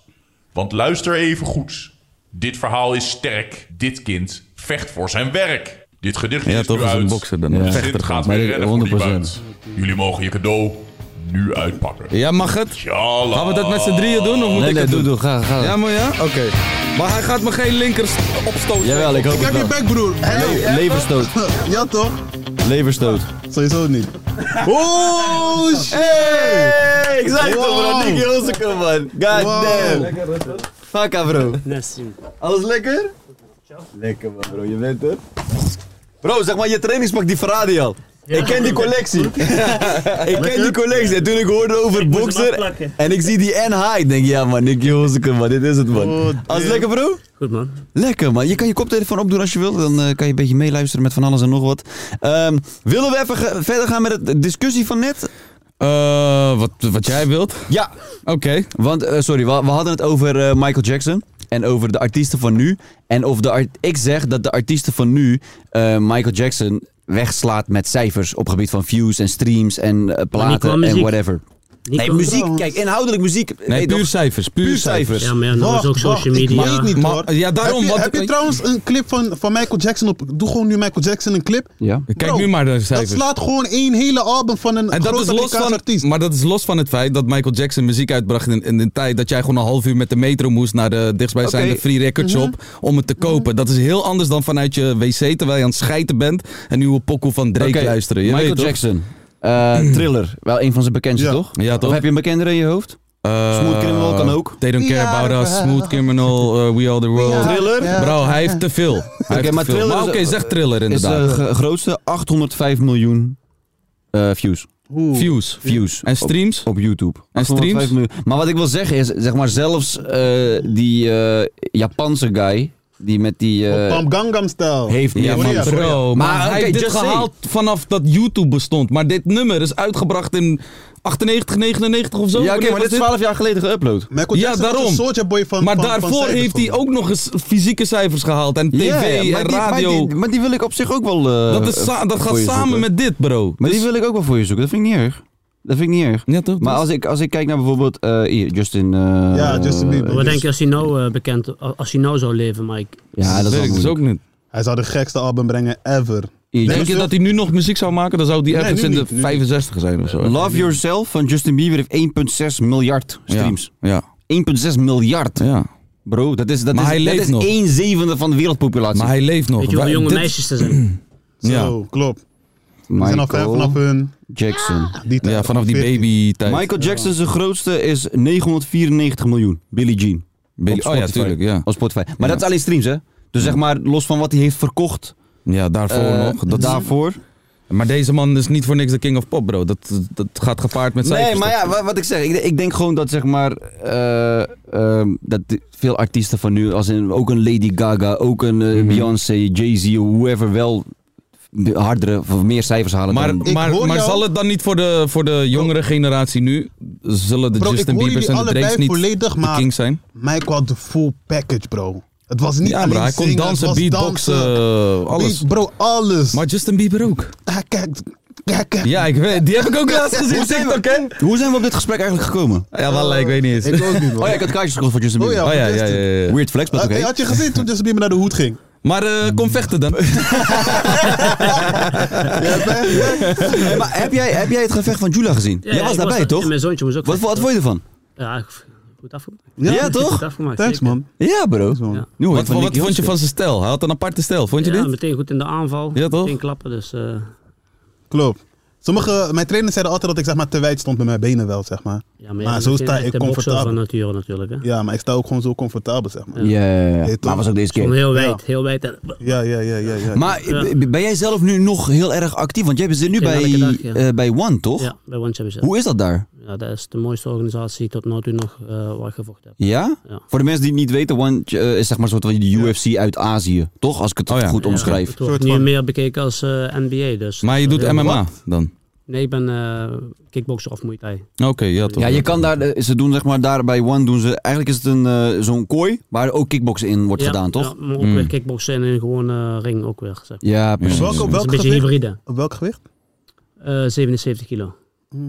Want luister even goed. Dit verhaal is sterk. Dit kind vecht voor zijn werk. Dit gedichtje Ja, is toch nu is een uit. bokser dan. De Een Sint vechter gaat gewoon. weer rennen voor die 100%. buit. Jullie mogen je cadeau nu uitpakken. Ja, mag het? Jalla. Gaan we dat met z'n drieën doen of moet Nee, ik nee, het doe, doen? doe. Ga, ga. Ja, maar ja? Oké. Maar hij gaat me geen linker st- opstoten. Jawel, ik hoop Ik heb het je wel. bek, broer. Hey. Le- Leverstoot. Ja, toch? Leverstoot. Sowieso niet. Oeh, Oh, shit. ik zei het Wow. over dat Nicky Holzeke, man. God Wow. damn. Faka, bro. Alles lekker? Lekker, man, bro. Je bent er. Bro, zeg maar, je trainingspak, die verraad je al. Ik ken die collectie. ik ken die collectie. En toen ik hoorde over bokser en ik zie die N-high, ik denk ja man, Nicky Holzeke man, dit is het Oh, man. Alles lekker bro? Goed man. Lekker man. Je kan je koptelefoon opdoen als je wilt. Dan eh, kan je een beetje meeluisteren met van alles en nog wat. Ehm, willen we even ge- verder gaan met de discussie van net? Eh, wat, wat jij wilt? Ja. Oké. Want, eh, sorry, we, we hadden het over eh, Michael Jackson. En over de artiesten van nu. En of de ar- ik zeg dat de artiesten van nu eh, Michael Jackson wegslaat met cijfers. Op gebied van views en streams en eh, platen en muziek. whatever. Nee, muziek. Kijk, inhoudelijk muziek. Nee, puur toch? cijfers. Puur, puur cijfers. cijfers. Ja, maar ja, dat is ook social Ik weet media. het niet Maar- hoor. ja, daarom, heb je, want- heb je trouwens een clip van, van Michael Jackson op? Doe gewoon nu Michael Jackson een clip. Ja. Kijk Bro, nu maar naar de Dat cijfers. slaat gewoon één hele album van een en dat grote is los Amerikaanse van, artiest. maar dat is los van het feit dat Michael Jackson muziek uitbracht in, in een tijd dat jij gewoon een half uur met de metro moest naar eh, de dichtstbijzijnde Oké. Free Record Mhm. Shop om het te kopen. Dat is heel anders dan vanuit je wc terwijl je aan het schijten bent en nieuwe pokoe van Drake Oké, luisteren. Je Michael weet toch? Jackson. Eh, thriller. Wel een van zijn bekendste, Ja. toch? Ja, toch? Of heb je een bekendere in je hoofd? Eh, Smooth Criminal kan ook. They don't care about us. Smooth Criminal, eh, We Are The World. Thriller? Bro, hij heeft te veel. Hij heeft te maar veel. Thriller Maar is- oké, zeg thriller eh, Is inderdaad. de ge- grootste 805 miljoen eh, views. Views. Views. En streams? Op YouTube. En streams? 805 miljoen. Maar wat ik wil zeggen is, zeg maar, zelfs eh, die eh, Japanse guy, die met die... eh, Bam Gangnam Style. heeft niet. Ja, maar maar sorry. bro, maar, Maar hij oké, heeft dit just say. gehaald vanaf dat YouTube bestond. Maar dit nummer is uitgebracht in 98, 99 of zo. ja, oké, Wanneer maar was dit is 12 jaar geleden geüpload. Michael Ja, Jackson was daarom. een soortje boy van Maar van- van daarvoor cijfers heeft hij gewoon. ook nog eens fysieke cijfers gehaald. En tv Ja, ja, maar en die- maar radio. die- Maar die wil ik op zich ook wel... eh, dat is sa- dat voor gaat je samen zoeken. met dit, bro. Maar die Dus- wil ik ook wel voor je zoeken. Dat vind ik niet erg. Dat vind ik niet erg. Ja, toch? Maar Dus- als ik, als ik kijk naar bijvoorbeeld eh, hier, Justin... eh, Ja, Justin Bieber. Wat denk je als hij nou eh, bekend, als hij nou zou leven, Mike? Ja, dat weet is wel ik dus moeilijk. ook niet. Hij zou de gekste album brengen ever. Iets. Denk je dat hij nu nog muziek zou maken, dan zou die ergens nu in de niet, nu 65 zijn of zo. Love Yourself van Justin Bieber heeft 1,6 miljard Ja, streams. Ja, 1,6 miljard. ja. Bro, dat is, dat Maar is, hij dat leeft is nog. één zevende van de wereldpopulatie. Maar hij leeft nog. Weet je Wij- hoeveel jonge dit- meisjes er zijn? Zo, Ja. klopt. We zijn al ver Michael vanaf hun... Jackson. Die tijd, Ja, vanaf die 14. baby-tijd. Michael Jackson zijn grootste is 994 miljoen. Billie Jean. Baby- Op oh ja, Spotify. tuurlijk, ja. Op Spotify. Maar dat is alleen streams, hè? Dus zeg maar, los van wat hij heeft verkocht Ja, daarvoor eh, nog. Dat is- daarvoor. Maar deze man is niet voor niks de king of pop, bro. Dat, dat gaat gepaard met cijfers. Nee, maar ja, wa- wat ik zeg, ik, ik denk gewoon dat zeg maar eh, ehm, dat di- veel artiesten van nu, als in ook een Lady Gaga, ook een eh, Mhm. Beyoncé, Jay-Z, whoever wel de hardere of meer cijfers halen. Maar, dan, Ik maar, hoor maar jou- zal het dan niet voor de, voor de jongere generatie nu, zullen de Bro, ik Justin hoor Bieber's en jullie de Drake's allebei niet volledig, de maar- king zijn? Michael had de full package, bro. Het was niet Ja, alleen bro, hij kon zingen, dansen, het was beatboxen, dansen. eh, alles. Beat- Bro, alles. Maar Justin Bieber ook. Hij kijkt... Kijk, kijk. Ja, ik weet, die heb ik ook laatst gezien op TikTok, hè? hoe zijn we op dit gesprek eigenlijk gekomen? Ja, wel, ik weet niet eens. Ik ook niet, man. Oh ja, ik had kaartjes gekocht voor Justin Oh Bieber. ja. Oh ja, ja, ja. ja. Weird flex, maar Had- oké. Had je gezien toen Justin Bieber naar de hoed ging? Maar eh, kom vechten dan. Hey, maar heb jij, heb jij het gevecht van Jula gezien? Ja, jij was ik daarbij, er- toch? en Mijn zoontje moest ook. Wat, wat vond je ervan? Ja, ik- goed afgemaakt. Ja, toch? Goed afgemaakt, Thanks, zeker. man. Ja, bro. Nu Ja. hoor je Wat, van wat Nicky vond je Hofstede. van zijn stijl? Hij had een aparte stijl, vond je Ja, dit? meteen goed in de aanval. Ja, toch? Meteen klappen, dus... eh, Klopt. Sommige, mijn trainers zeiden altijd dat ik zeg maar te wijd stond met mijn benen wel, zeg maar. ja, maar, Maar ja, zo meteen sta echt ik de bokser comfortabel. van nature natuurlijk, hè. Ja, maar ik sta ook gewoon zo comfortabel, zeg maar. Ja, ja, ja. toch? Maar was ook deze Gewoon keer. heel wijd, heel wijd. en- Ja, ja, ja, ja. ja. Maar Ja. b- b- ben jij zelf nu nog heel erg actief? Want jij zit nu Ja, bij, elke dag, ja. eh, bij One, toch? Ja, bij One Championship. Hoe is dat daar? Ja, dat is de mooiste organisatie tot nu toe nog eh, waar ik gevochten heb. Ja? Voor de mensen die het niet weten, One eh, is zeg maar een soort van de UFC uit Azië. Toch? Als ik het goed Ja, omschrijf. het wordt nu meer bekeken als eh, NBA. Dus Maar je dat doet heel- MMA dan? Nee, ik ben eh kickboxer of Muay Thai. Oké, ja Ja, je kan daar, eh, ze doen zeg maar daar bij One doen ze, eigenlijk is het een, eh, zo'n kooi waar ook kickboksen in wordt Ja, gedaan, toch? Ja, maar ook Mm. weer kickboksen en een gewone ring ook weer. Zeg. Ja, precies. Welke- Het is welk een beetje gewicht? hybride. Op welk gewicht? Eh, 77 kilo.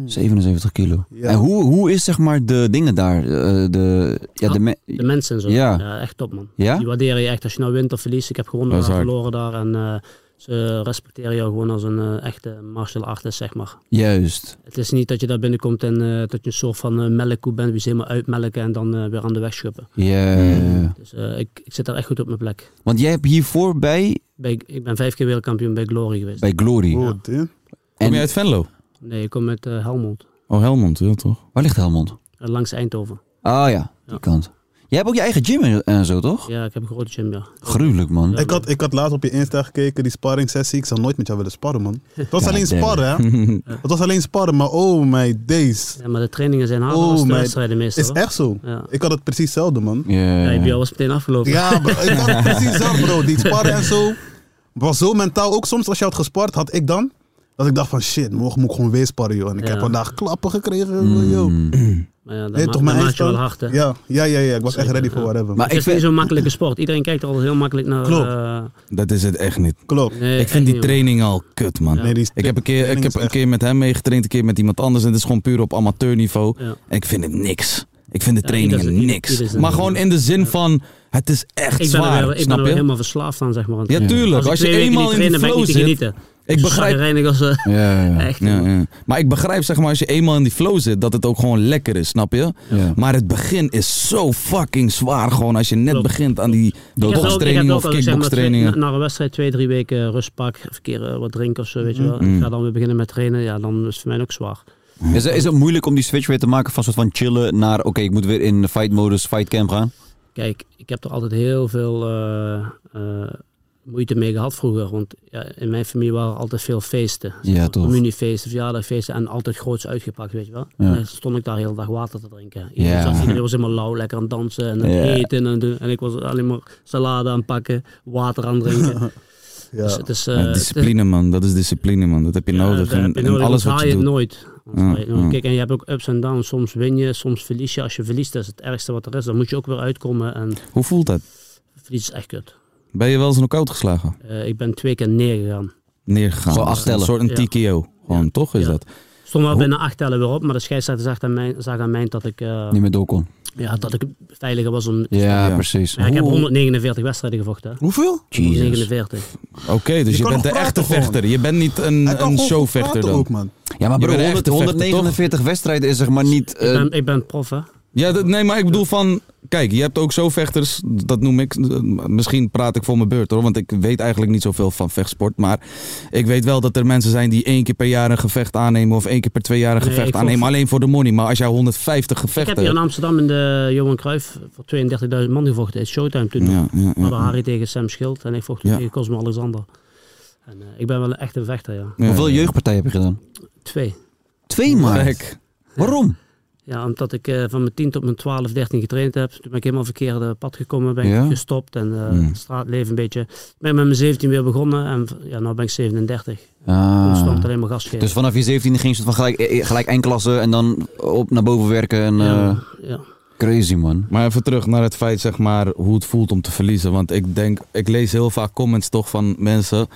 77 kilo. En hoe, hoe is zeg maar de dingen daar? eh, de, ja, de, me- Ah, De mensen en zo. Ja. Ja, echt top man. Ja? Die waarderen je echt als je nou wint of verliest. Ik heb gewonnen Dat is daar, hard. verloren daar. En eh, ze respecteren jou gewoon als een eh, echte martial artist, zeg maar. Juist. Het is niet dat je daar binnenkomt en eh, dat je een soort van eh, melkkoe bent, die ze helemaal uitmelken en dan eh, weer aan de weg schuppen. Ja. Dus eh, ik, ik zit daar echt goed op mijn plek. Want jij hebt hiervoor bij, Bij, ik ben vijf keer wereldkampioen bij Glory geweest. bij Glory. Oh, damn. Kom je uit Venlo? Nee, ik kom uit eh, Helmond, Oh, Helmond, ja toch? Waar ligt Helmond? eh, langs Eindhoven. Ah ja, die kant. Jij hebt ook je eigen gym en- en zo, toch? Ja, ik heb een grote gym, ja. Gruwelijk, man. Ik had, ik had laatst op je Insta gekeken, die sparring sessie. Ik zou nooit met jou willen sparren, man. Het was Ja, alleen damn. sparren, hè? Het was alleen sparren, maar oh my days. Ja, maar de trainingen zijn harder als de wedstrijden meestal, Oh, Is hoor. echt zo. Ja. Ik had het precies hetzelfde, man. Ja, je was meteen afgelopen. Ja, bro, ik had het precies zelf, bro. Die sparren en zo. Was zo mentaal. Ook soms als je had gespart, had ik dan. Dat ik dacht van shit, morgen moet ik gewoon weer sparren, joh. En ik Ja. heb vandaag klappen gekregen, yo. Maar ja, Nee, dat maakt- toch dat mijn maakt je wel eindstand? hard, hè. Ja, ja, ja, ja. Ik was echt ready voor whatever. het is niet zo'n makkelijke sport. Iedereen kijkt er al heel makkelijk naar. Klopt. eh, Dat is het echt niet. Klopt. Nee, ik echt vind niet, die joh. training al kut, man. Nee, die ik heb, een keer, ik training heb is een keer met hem meegetraind, een keer met iemand anders. En het is gewoon puur op amateurniveau. Ja. En ik vind het niks. Ik vind de Ja, trainingen ieder zijn- niks. ieder zijn- maar gewoon in de zin van, het is echt ik ben, zwaar, er, weer, ik snap ben er je? weer helemaal verslaafd aan, zeg maar. aan het Ja, trainen. tuurlijk. Als je twee weken eenmaal niet in de train, dan ben ik flow niet zit- genieten. Ik begrijp- Reinig als, eh, Ja, ja, ja. Echt. Ja, ja. Maar ik begrijp, zeg maar, als je eenmaal in die flow zit, dat het ook gewoon lekker is, snap je? Ja. Maar het begin is zo fucking zwaar, gewoon als je net begint aan die Ik heb ook- ik heb bokstrainingen ook of al, zeg maar, twee- kickbokstrainingen. na na een wedstrijd twee, drie weken rust pak, even een keer eh, wat drinken of zo, weet je wel. Mm. Ik ga dan weer beginnen met trainen, ja, dan is het voor mij ook zwaar. Mm. Is, is het moeilijk om die switch weer te maken van soort van chillen naar, oké, ik moet weer in fight modus, fight camp gaan? Kijk, ik heb er altijd heel veel eh, eh, moeite mee gehad vroeger, want ja, in mijn familie waren er altijd veel feesten. Ja, toch. Communiefeesten, verjaardagfeesten en altijd groots uitgepakt, weet je wel. Ja. En dan stond ik daar heel de dag water te drinken. Iedereen, Ja. zat- iedereen was helemaal lauw, lekker aan het dansen en aan het Ja. eten en, doen. en ik was alleen maar salade aan het pakken, water aan het drinken. Dus het is, eh, Ja, het is- discipline, man. Dat is discipline, man. Dat heb je Ja, nodig daar in, heb je in nodig, alles anders wat je doet. haal je het nooit. Anders Ja, haal je het nooit. ja. Kijk, en je hebt ook ups en downs. Soms win je, soms verlies je. Als je verliest, dat is het ergste wat er is. Dan moet je ook weer uitkomen. En Hoe voelt dat? verlies is echt kut. Ben je wel eens knock-out geslagen? Eh, ik ben twee keer neergegaan. Neergegaan? Gewoon acht Een tellen. soort een Ja. TKO. Gewoon, toch is dat? Stond wel Hoe- binnen acht tellen weer op, maar de scheidsrechter zag aan mij, zag aan mij dat ik, eh, Niet meer door kon. ja, dat ik veiliger was om... Ja, precies. Maar ik heb Hoe- 149 wedstrijden gevochten. hè. Hoeveel? Jezus. 149. Je kan Oké, dus je, bent de nog praten echte gewoon. vechter. Je bent niet een, een showvechter dan. ook, man. Ja, maar Je bro, bent een 100 echte vechter, toch? 149 wedstrijden is zeg maar niet... eh, Dus Ik, ben, ik ben prof, hè. Ja, dat, nee, maar ik bedoel van... Kijk, je hebt ook zo vechters, dat noem ik... Misschien praat ik voor mijn beurt hoor, want ik weet eigenlijk niet zoveel van vechtsport. Maar ik weet wel dat er mensen zijn die één keer per jaar een gevecht aannemen... of één keer per twee jaar een Nee, gevecht ik aannemen, vond- alleen voor de money. Maar als jij 150 Ik gevechten... heb hier in Amsterdam in de Johan Cruijff voor 32.000 man gevochten. Het Showtime toen. nog. Ja, ja, ja. We hadden Harry tegen Sam Schild en ik vocht toen Ja. tegen Cosmo Alexander. En, eh, ik ben wel een echte vechter, ja. Ja. Hoeveel jeugdpartijen heb je gedaan? Twee. Twee maar. Gek. Waarom? Ja, omdat ik eh, van mijn 10 tot mijn 12, 13 getraind heb. Toen ben ik helemaal verkeerde pad gekomen, ben Ja? ik gestopt en eh, Mm. het straatleven een beetje. Ik ben met mijn 17 weer begonnen en ja, nu ben ik 37. Toen Ah. stond alleen maar gas geven. Dus vanaf je 17 ging je soort van gelijk, eh, eh, gelijk eindklasse en dan op naar boven werken en... Ja, eh, ja. crazy, man. Maar even terug naar het feit, zeg maar, hoe het voelt om te verliezen. Want ik denk, ik lees heel vaak comments toch van mensen.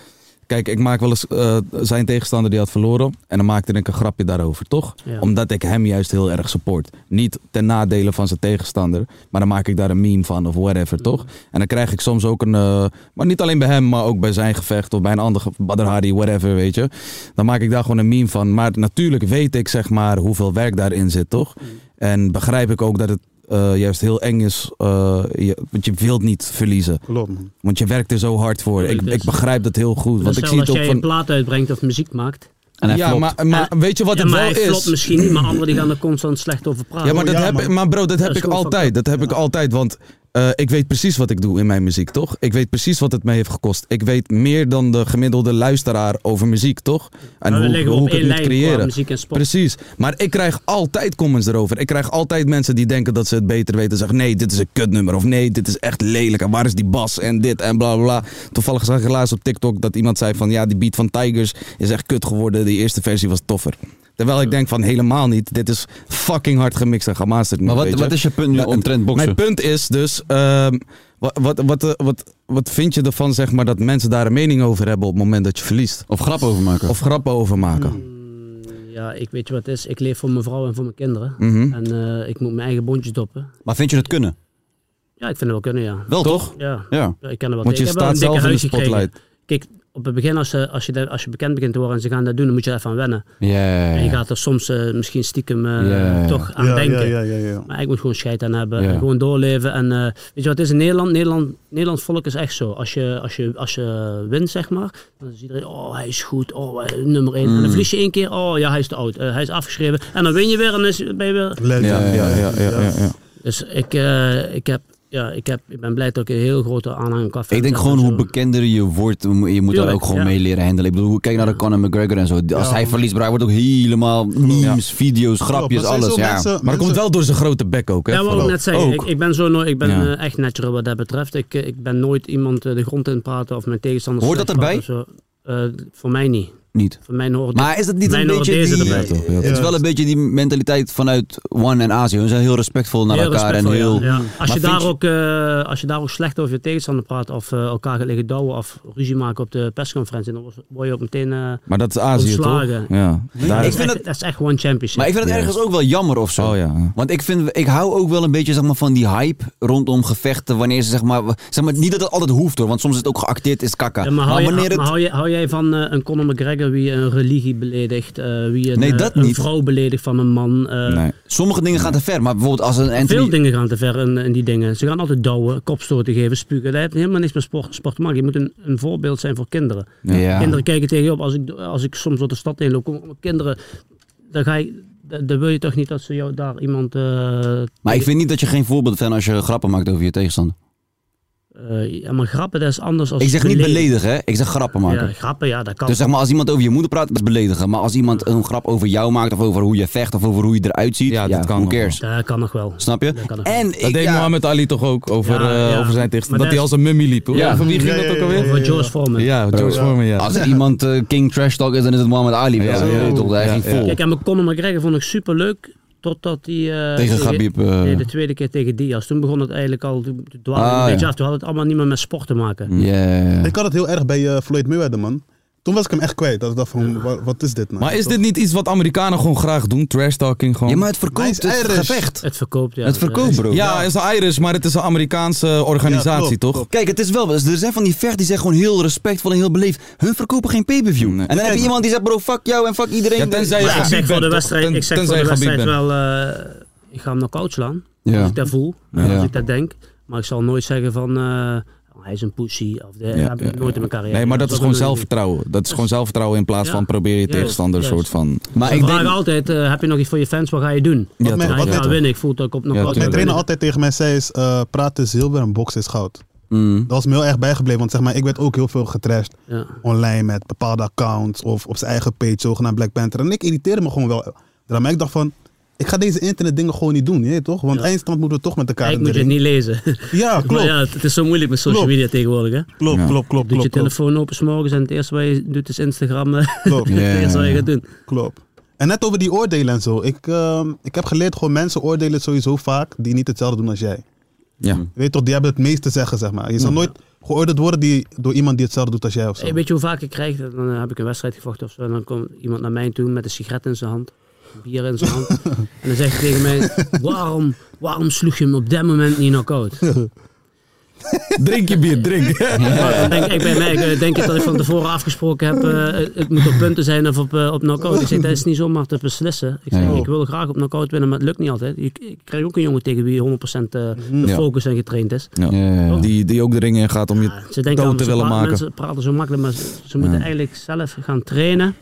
Kijk, ik maak wel eens eh, zijn tegenstander die had verloren. En dan maakte ik een grapje daarover, toch? Ja. Omdat ik hem juist heel erg support. Niet ten nadele van zijn tegenstander. Maar dan maak ik daar een meme van of whatever, toch? En dan krijg ik soms ook een. eh, maar niet alleen bij hem, maar ook bij zijn gevecht of bij een ander. ge- Badr Hari, whatever, weet je. Dan maak ik daar gewoon een meme van. Maar natuurlijk weet ik, zeg maar, hoeveel werk daarin zit, toch? En begrijp ik ook dat het eh, juist heel eng is. eh, je- want je wilt niet verliezen. Klopt, man. Want je werkt er zo hard voor. Ik, Tuurlijk, ik dus- begrijp dat heel goed. Dat Want is ik hetzelfde zie het als ook jij een van. plaat uitbrengt of muziek maakt. En hij Ja, flopt. maar, maar weet je wat ja, het maar wel hij flopt is? misschien niet, maar anderen die gaan er constant slecht over praten. Ja, maar, dat ja, heb, man. maar bro, dat heb is ik gewoon fucked altijd. Dat heb ik altijd. Want Eh, ik weet precies wat ik doe in mijn muziek, toch? Ik weet precies wat het mij heeft gekost. Ik weet meer dan de gemiddelde luisteraar over muziek, toch? En Maar we hoe, Nou, leggen hoe op ik het één moet lijn qua creëren. muziek en sport. Precies. Maar ik krijg altijd comments erover. Ik krijg altijd mensen die denken dat ze het beter weten. Zeggen, nee, dit is een kutnummer. Of nee, dit is echt lelijk. En waar is die bas? En dit en bla bla. bla. Toevallig zag ik laatst op TikTok dat iemand zei van... Ja, die beat van Tigers is echt kut geworden. De eerste versie was toffer. Terwijl ik denk van helemaal niet. Dit is fucking hard gemixt en gemasterd. Maar wat- weet wat is je punt nu Maar- omtrent boksen? Mijn punt is dus... ehm, wat, wat, wat, eh, wat, wat vind je ervan zeg maar, dat mensen daar een mening over hebben op het moment dat je verliest? Of grappen over maken. Of grappen over maken. Hmm. Ja, ik weet je wat het is. Ik leef voor mijn vrouw en voor mijn kinderen. Mhm. En eh, ik moet mijn eigen bondjes doppen. Maar vind je dat kunnen? Ja, ik vind het wel kunnen, ja. Wel, toch? Ja. Ja. ik ken er wel Want je tegen. Ik heb wel staat een dikke zelf in de huis gekregen. spotlight. Kijk, op het begin, als, je- als, je, dat- als je bekend begint te worden en ze gaan dat doen, dan moet je er even aan wennen. Ja. En je gaat er soms eh, misschien stiekem eh, Ja. toch aan Ja, ja, denken. ja, ja, ja. Maar ik moet gewoon scheid aan hebben. Ja. En gewoon doorleven. En eh, weet je wat het is in Nederland? Nederland Nederlands volk is echt zo. Als je, als, je, als je wint, zeg maar, dan is iedereen, oh hij is goed, oh hij is nummer één. Mm. En dan verlies je één keer, oh ja hij is te oud, eh, hij is afgeschreven. En dan win je weer en dan is, ben je weer... Legend, ja, ja, ja, Dus ik, eh, ik, heb, ja, ik, heb, ik ben blij dat ik een heel grote aanhang kan Ik denk gewoon hoe bekender je wordt, hoe- je moet daar Tuurlijk, ook gewoon ja. mee leren handelen. Ik bedoel, hoe- kijk naar de Conor McGregor en zo. Als hij verliest, bro, hij wordt ook helemaal memes, video's, grapjes, dat zijn alles. zo Ja. mensen- Maar dat komt wel door zijn grote bek ook. Hè, Ja, wou ik vooral. net zeggen. Ik, ik ben, zo nooit, ik ben Ja. eh, echt natural wat dat betreft. Ik, eh, ik ben nooit iemand eh, de grond in praten of mijn tegenstanders Hoort dat slecht praten of zo. Eh, voor mij niet. Niet. Voor mij hoort Maar is dat niet mij een hoort beetje deze die... erbij. toch, ja, toch. Het is wel een beetje die mentaliteit vanuit One en Azië. Ze zijn heel respectvol naar Heel elkaar en respectvol, heel... ja. Ja. Als, je vind daar je- ook, eh, als je daar ook slecht over je tegenstander praat of eh, elkaar gaat liggen douwen of ruzie maken op de persconferentie, dan word je ook meteen... eh, Maar dat is Azië toch? Ontslagen. Ja. Daar dat, Ik is vind echt, dat- dat is echt one championship. Maar ik vind het ergens ook wel jammer of zo. Oh ja. Want ik, vind, ik hou ook wel een beetje zeg maar, van die hype rondom gevechten. Wanneer ze zeg maar, zeg maar. Niet dat het altijd hoeft hoor, want soms is het ook geacteerd is kakka. Ja, Eh, maar hou, wanneer je, het. maar hou, je, hou jij van eh, een Conor McGregor wie een religie beledigt, eh, wie een, Nee, eh, dat een niet. vrouw beledigt van een man. eh, Nee. Sommige dingen gaan te ver, maar bijvoorbeeld als een Anthony. Veel dingen gaan te ver in, in die dingen. Ze gaan altijd douwen, kopstoten geven, spugen. Dat heeft helemaal niks met sport, sport te maken. Je moet een, een voorbeeld zijn voor kinderen. Ja. Kinderen kijken tegen je op. Als ik, als ik soms door de stad heen loop, komen kinderen, dan, ga je, dan dan wil je toch niet dat ze jou daar iemand... eh, Maar ik vind niet dat je geen voorbeeld bent als je grappen maakt over je tegenstander. eh, ja, maar grappen, dat is anders als Ik zeg niet beledigen. beledigen, hè? ik zeg grappen maken. Ja, grappen, ja, dat kan. Dus zeg maar, als iemand over je moeder praat, dat is beledigen. Maar als iemand een grap over jou maakt, of over hoe je vecht, of over hoe je eruit ziet, Ja, ja, dat kan who nog wel. cares? dat kan nog wel. Snap je? Dat kan nog wel. En Dat ik, deed ja, Mohammed Ali toch ook over, Ja, eh, ja. over zijn tegenstander. Maar Dat hij dat als is- een mummy liep. hoor. Ja. Over wie ging Ja, dat ja, ook ja, alweer? ja. Voor George Foreman. Ja, George Foreman, ja. als er iemand eh, King Trash Talk is, dan is het Mohammed Ali. Ja, Ja, ja. toch, daar Ja, ging ja. vol. Kijk, en mijn Conor McGregor vond ik super leuk. Totdat hij. eh, Tegen Khabib, eh. Nee, de tweede keer tegen Diaz. Toen begon het eigenlijk al. Toen toen dwaalde het Ah, een beetje ja. af. Toen had het allemaal niet meer met sport te maken. Ja. Ik had het heel erg bij eh, Floyd Mayweather, man. Toen was ik hem echt kwijt. Dat ik dacht van, wa- wat is dit nou? Maar is dit niet iets wat Amerikanen gewoon graag doen? Trash talking gewoon? Ja, maar het verkoopt Hij is het Irish. gevecht. Het verkoopt, ja. Het verkoopt, bro. Ja, het is een Irish, maar het is een Amerikaanse organisatie, Ja, klopt, toch? klopt. Kijk, het is wel, dus er zijn van die vecht die zijn gewoon heel respectvol en heel beleefd. Hun verkopen geen pay-per-view. En dan heb je iemand die zegt, bro, fuck jou en fuck iedereen. Ja, tenzij je Maar ik Khabib zeg voor bent, de toch? wedstrijd, Ten- ik zeg voor tenzij de je Khabib wedstrijd bent. wel. eh, ik ga hem knock-out slaan. Ja. Als ik dat voel. Ja. Als ik dat denk. Maar ik zal nooit zeggen van. eh, oh, hij is een pussy. Of de, dat heb ik nooit in mijn carrière. Nee, maar dat is gewoon wil ik niet. zelfvertrouwen. Dat is gewoon zelfvertrouwen in plaats Ja. van probeer je Juist, tegenstander een soort juist. van... Maar Ze ik vragen denk, altijd: eh, heb je nog iets voor je fans? Wat ga je doen? Ja, met- toch? Hij wat gaat met- winnen. Ik voel dat ik op nog Ja, wel tuurlijk. Mijn wil trainer winnen. altijd tegen mij zei is, eh, praten is zilver en boksen is goud. Mm. Dat was me heel erg bijgebleven, want zeg maar, ik werd ook heel veel getrashed Ja. online met bepaalde accounts of op zijn eigen page, zogenaamd Black Panther. En ik irriteerde me gewoon wel. eraan. Maar ik dacht van, ik ga deze internetdingen gewoon niet doen, je weet toch? Want eindstand moeten we toch met elkaar Ik in de moet je ring. niet lezen. Ja, klopt, Maar ja, het het is zo moeilijk met social Klopt. media tegenwoordig. Hè? klopt, klopt, klopt, klopt, Doet je klopt, telefoon open s'morgens en het eerste wat je doet is Instagram. eh, klopt, Ja, het eerste wat ja, je ja. gaat doen. klopt. En net over die oordelen en zo. Ik, ehm, ik heb geleerd, gewoon mensen oordelen sowieso vaak die niet hetzelfde doen als jij. Ja. Je weet toch, die hebben het meest te zeggen, zeg maar. Je zal nooit geoordeeld worden die, door iemand die hetzelfde doet als jij of zo. Hey, weet je hoe vaak ik krijg? Dan eh, heb ik een wedstrijd gevochten of zo. En dan komt iemand naar mij toe met een sigaret in zijn hand. een Bier in zijn hand. en dan zegt hij tegen mij: waarom, waarom sloeg je hem op dat moment niet knock-out? Drink je bier, drink. Maar dan denk ik bij mij: eh, denk je dat ik van tevoren afgesproken heb? eh, het- het moet op punten zijn of op, eh, op knock-out. Ik zeg: dat is niet zomaar te beslissen. Ik zeg: Nee. ik wil graag op knock-out winnen, maar het lukt niet altijd. Ik, ik krijg ook een jongen tegen wie 100% eh, de Mm-hmm. Ja. focus en getraind is. Ja. Die, die ook de ring in gaat om je Ze denken dood allemaal, te ze willen pra- maken. Mensen praten zo makkelijk, maar ze, ze moeten eigenlijk zelf gaan trainen.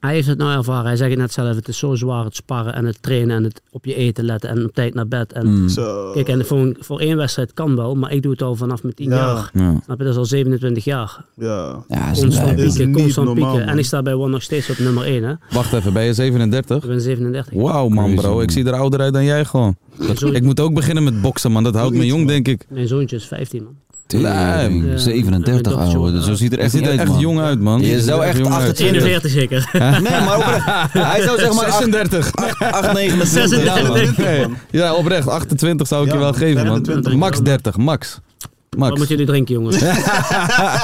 Hij heeft het nou ervaren. Hij zegt het net zelf, het is zo zwaar het sparren en het trainen en het op je eten letten en op tijd naar bed. En Mm. Zo. Kijk, en voor, een- voor één wedstrijd kan wel, maar ik doe het al vanaf mijn 10 Ja. jaar. Ja. Snap je, dat is al 27 jaar. Ja, Ja, is constant lijp. pieken, Is niet constant normaal, pieken. man. En ik sta bij One nog steeds op nummer 1, hè. Wacht even, ben je 37? Ik ben 37. Wauw man bro, ik zie er ouder uit dan jij gewoon. Dat- ik moet ook beginnen met boksen man, dat houdt me jong denk ik. Mijn zoontje is 15, man. Lijm. Ja. 37 ouwe, dus zo ziet er echt ziet niet er uit, echt man. jong uit man. Je Ziet er zou echt jong uit. 28. 41 zeker. Nee, maar oprecht. Hij zou zeg maar 36. 8, 29. 36. Ja, oprecht. 28 zou ik je wel geven, man. Max 30, max. Max. Wat moet jullie drinken, jongens?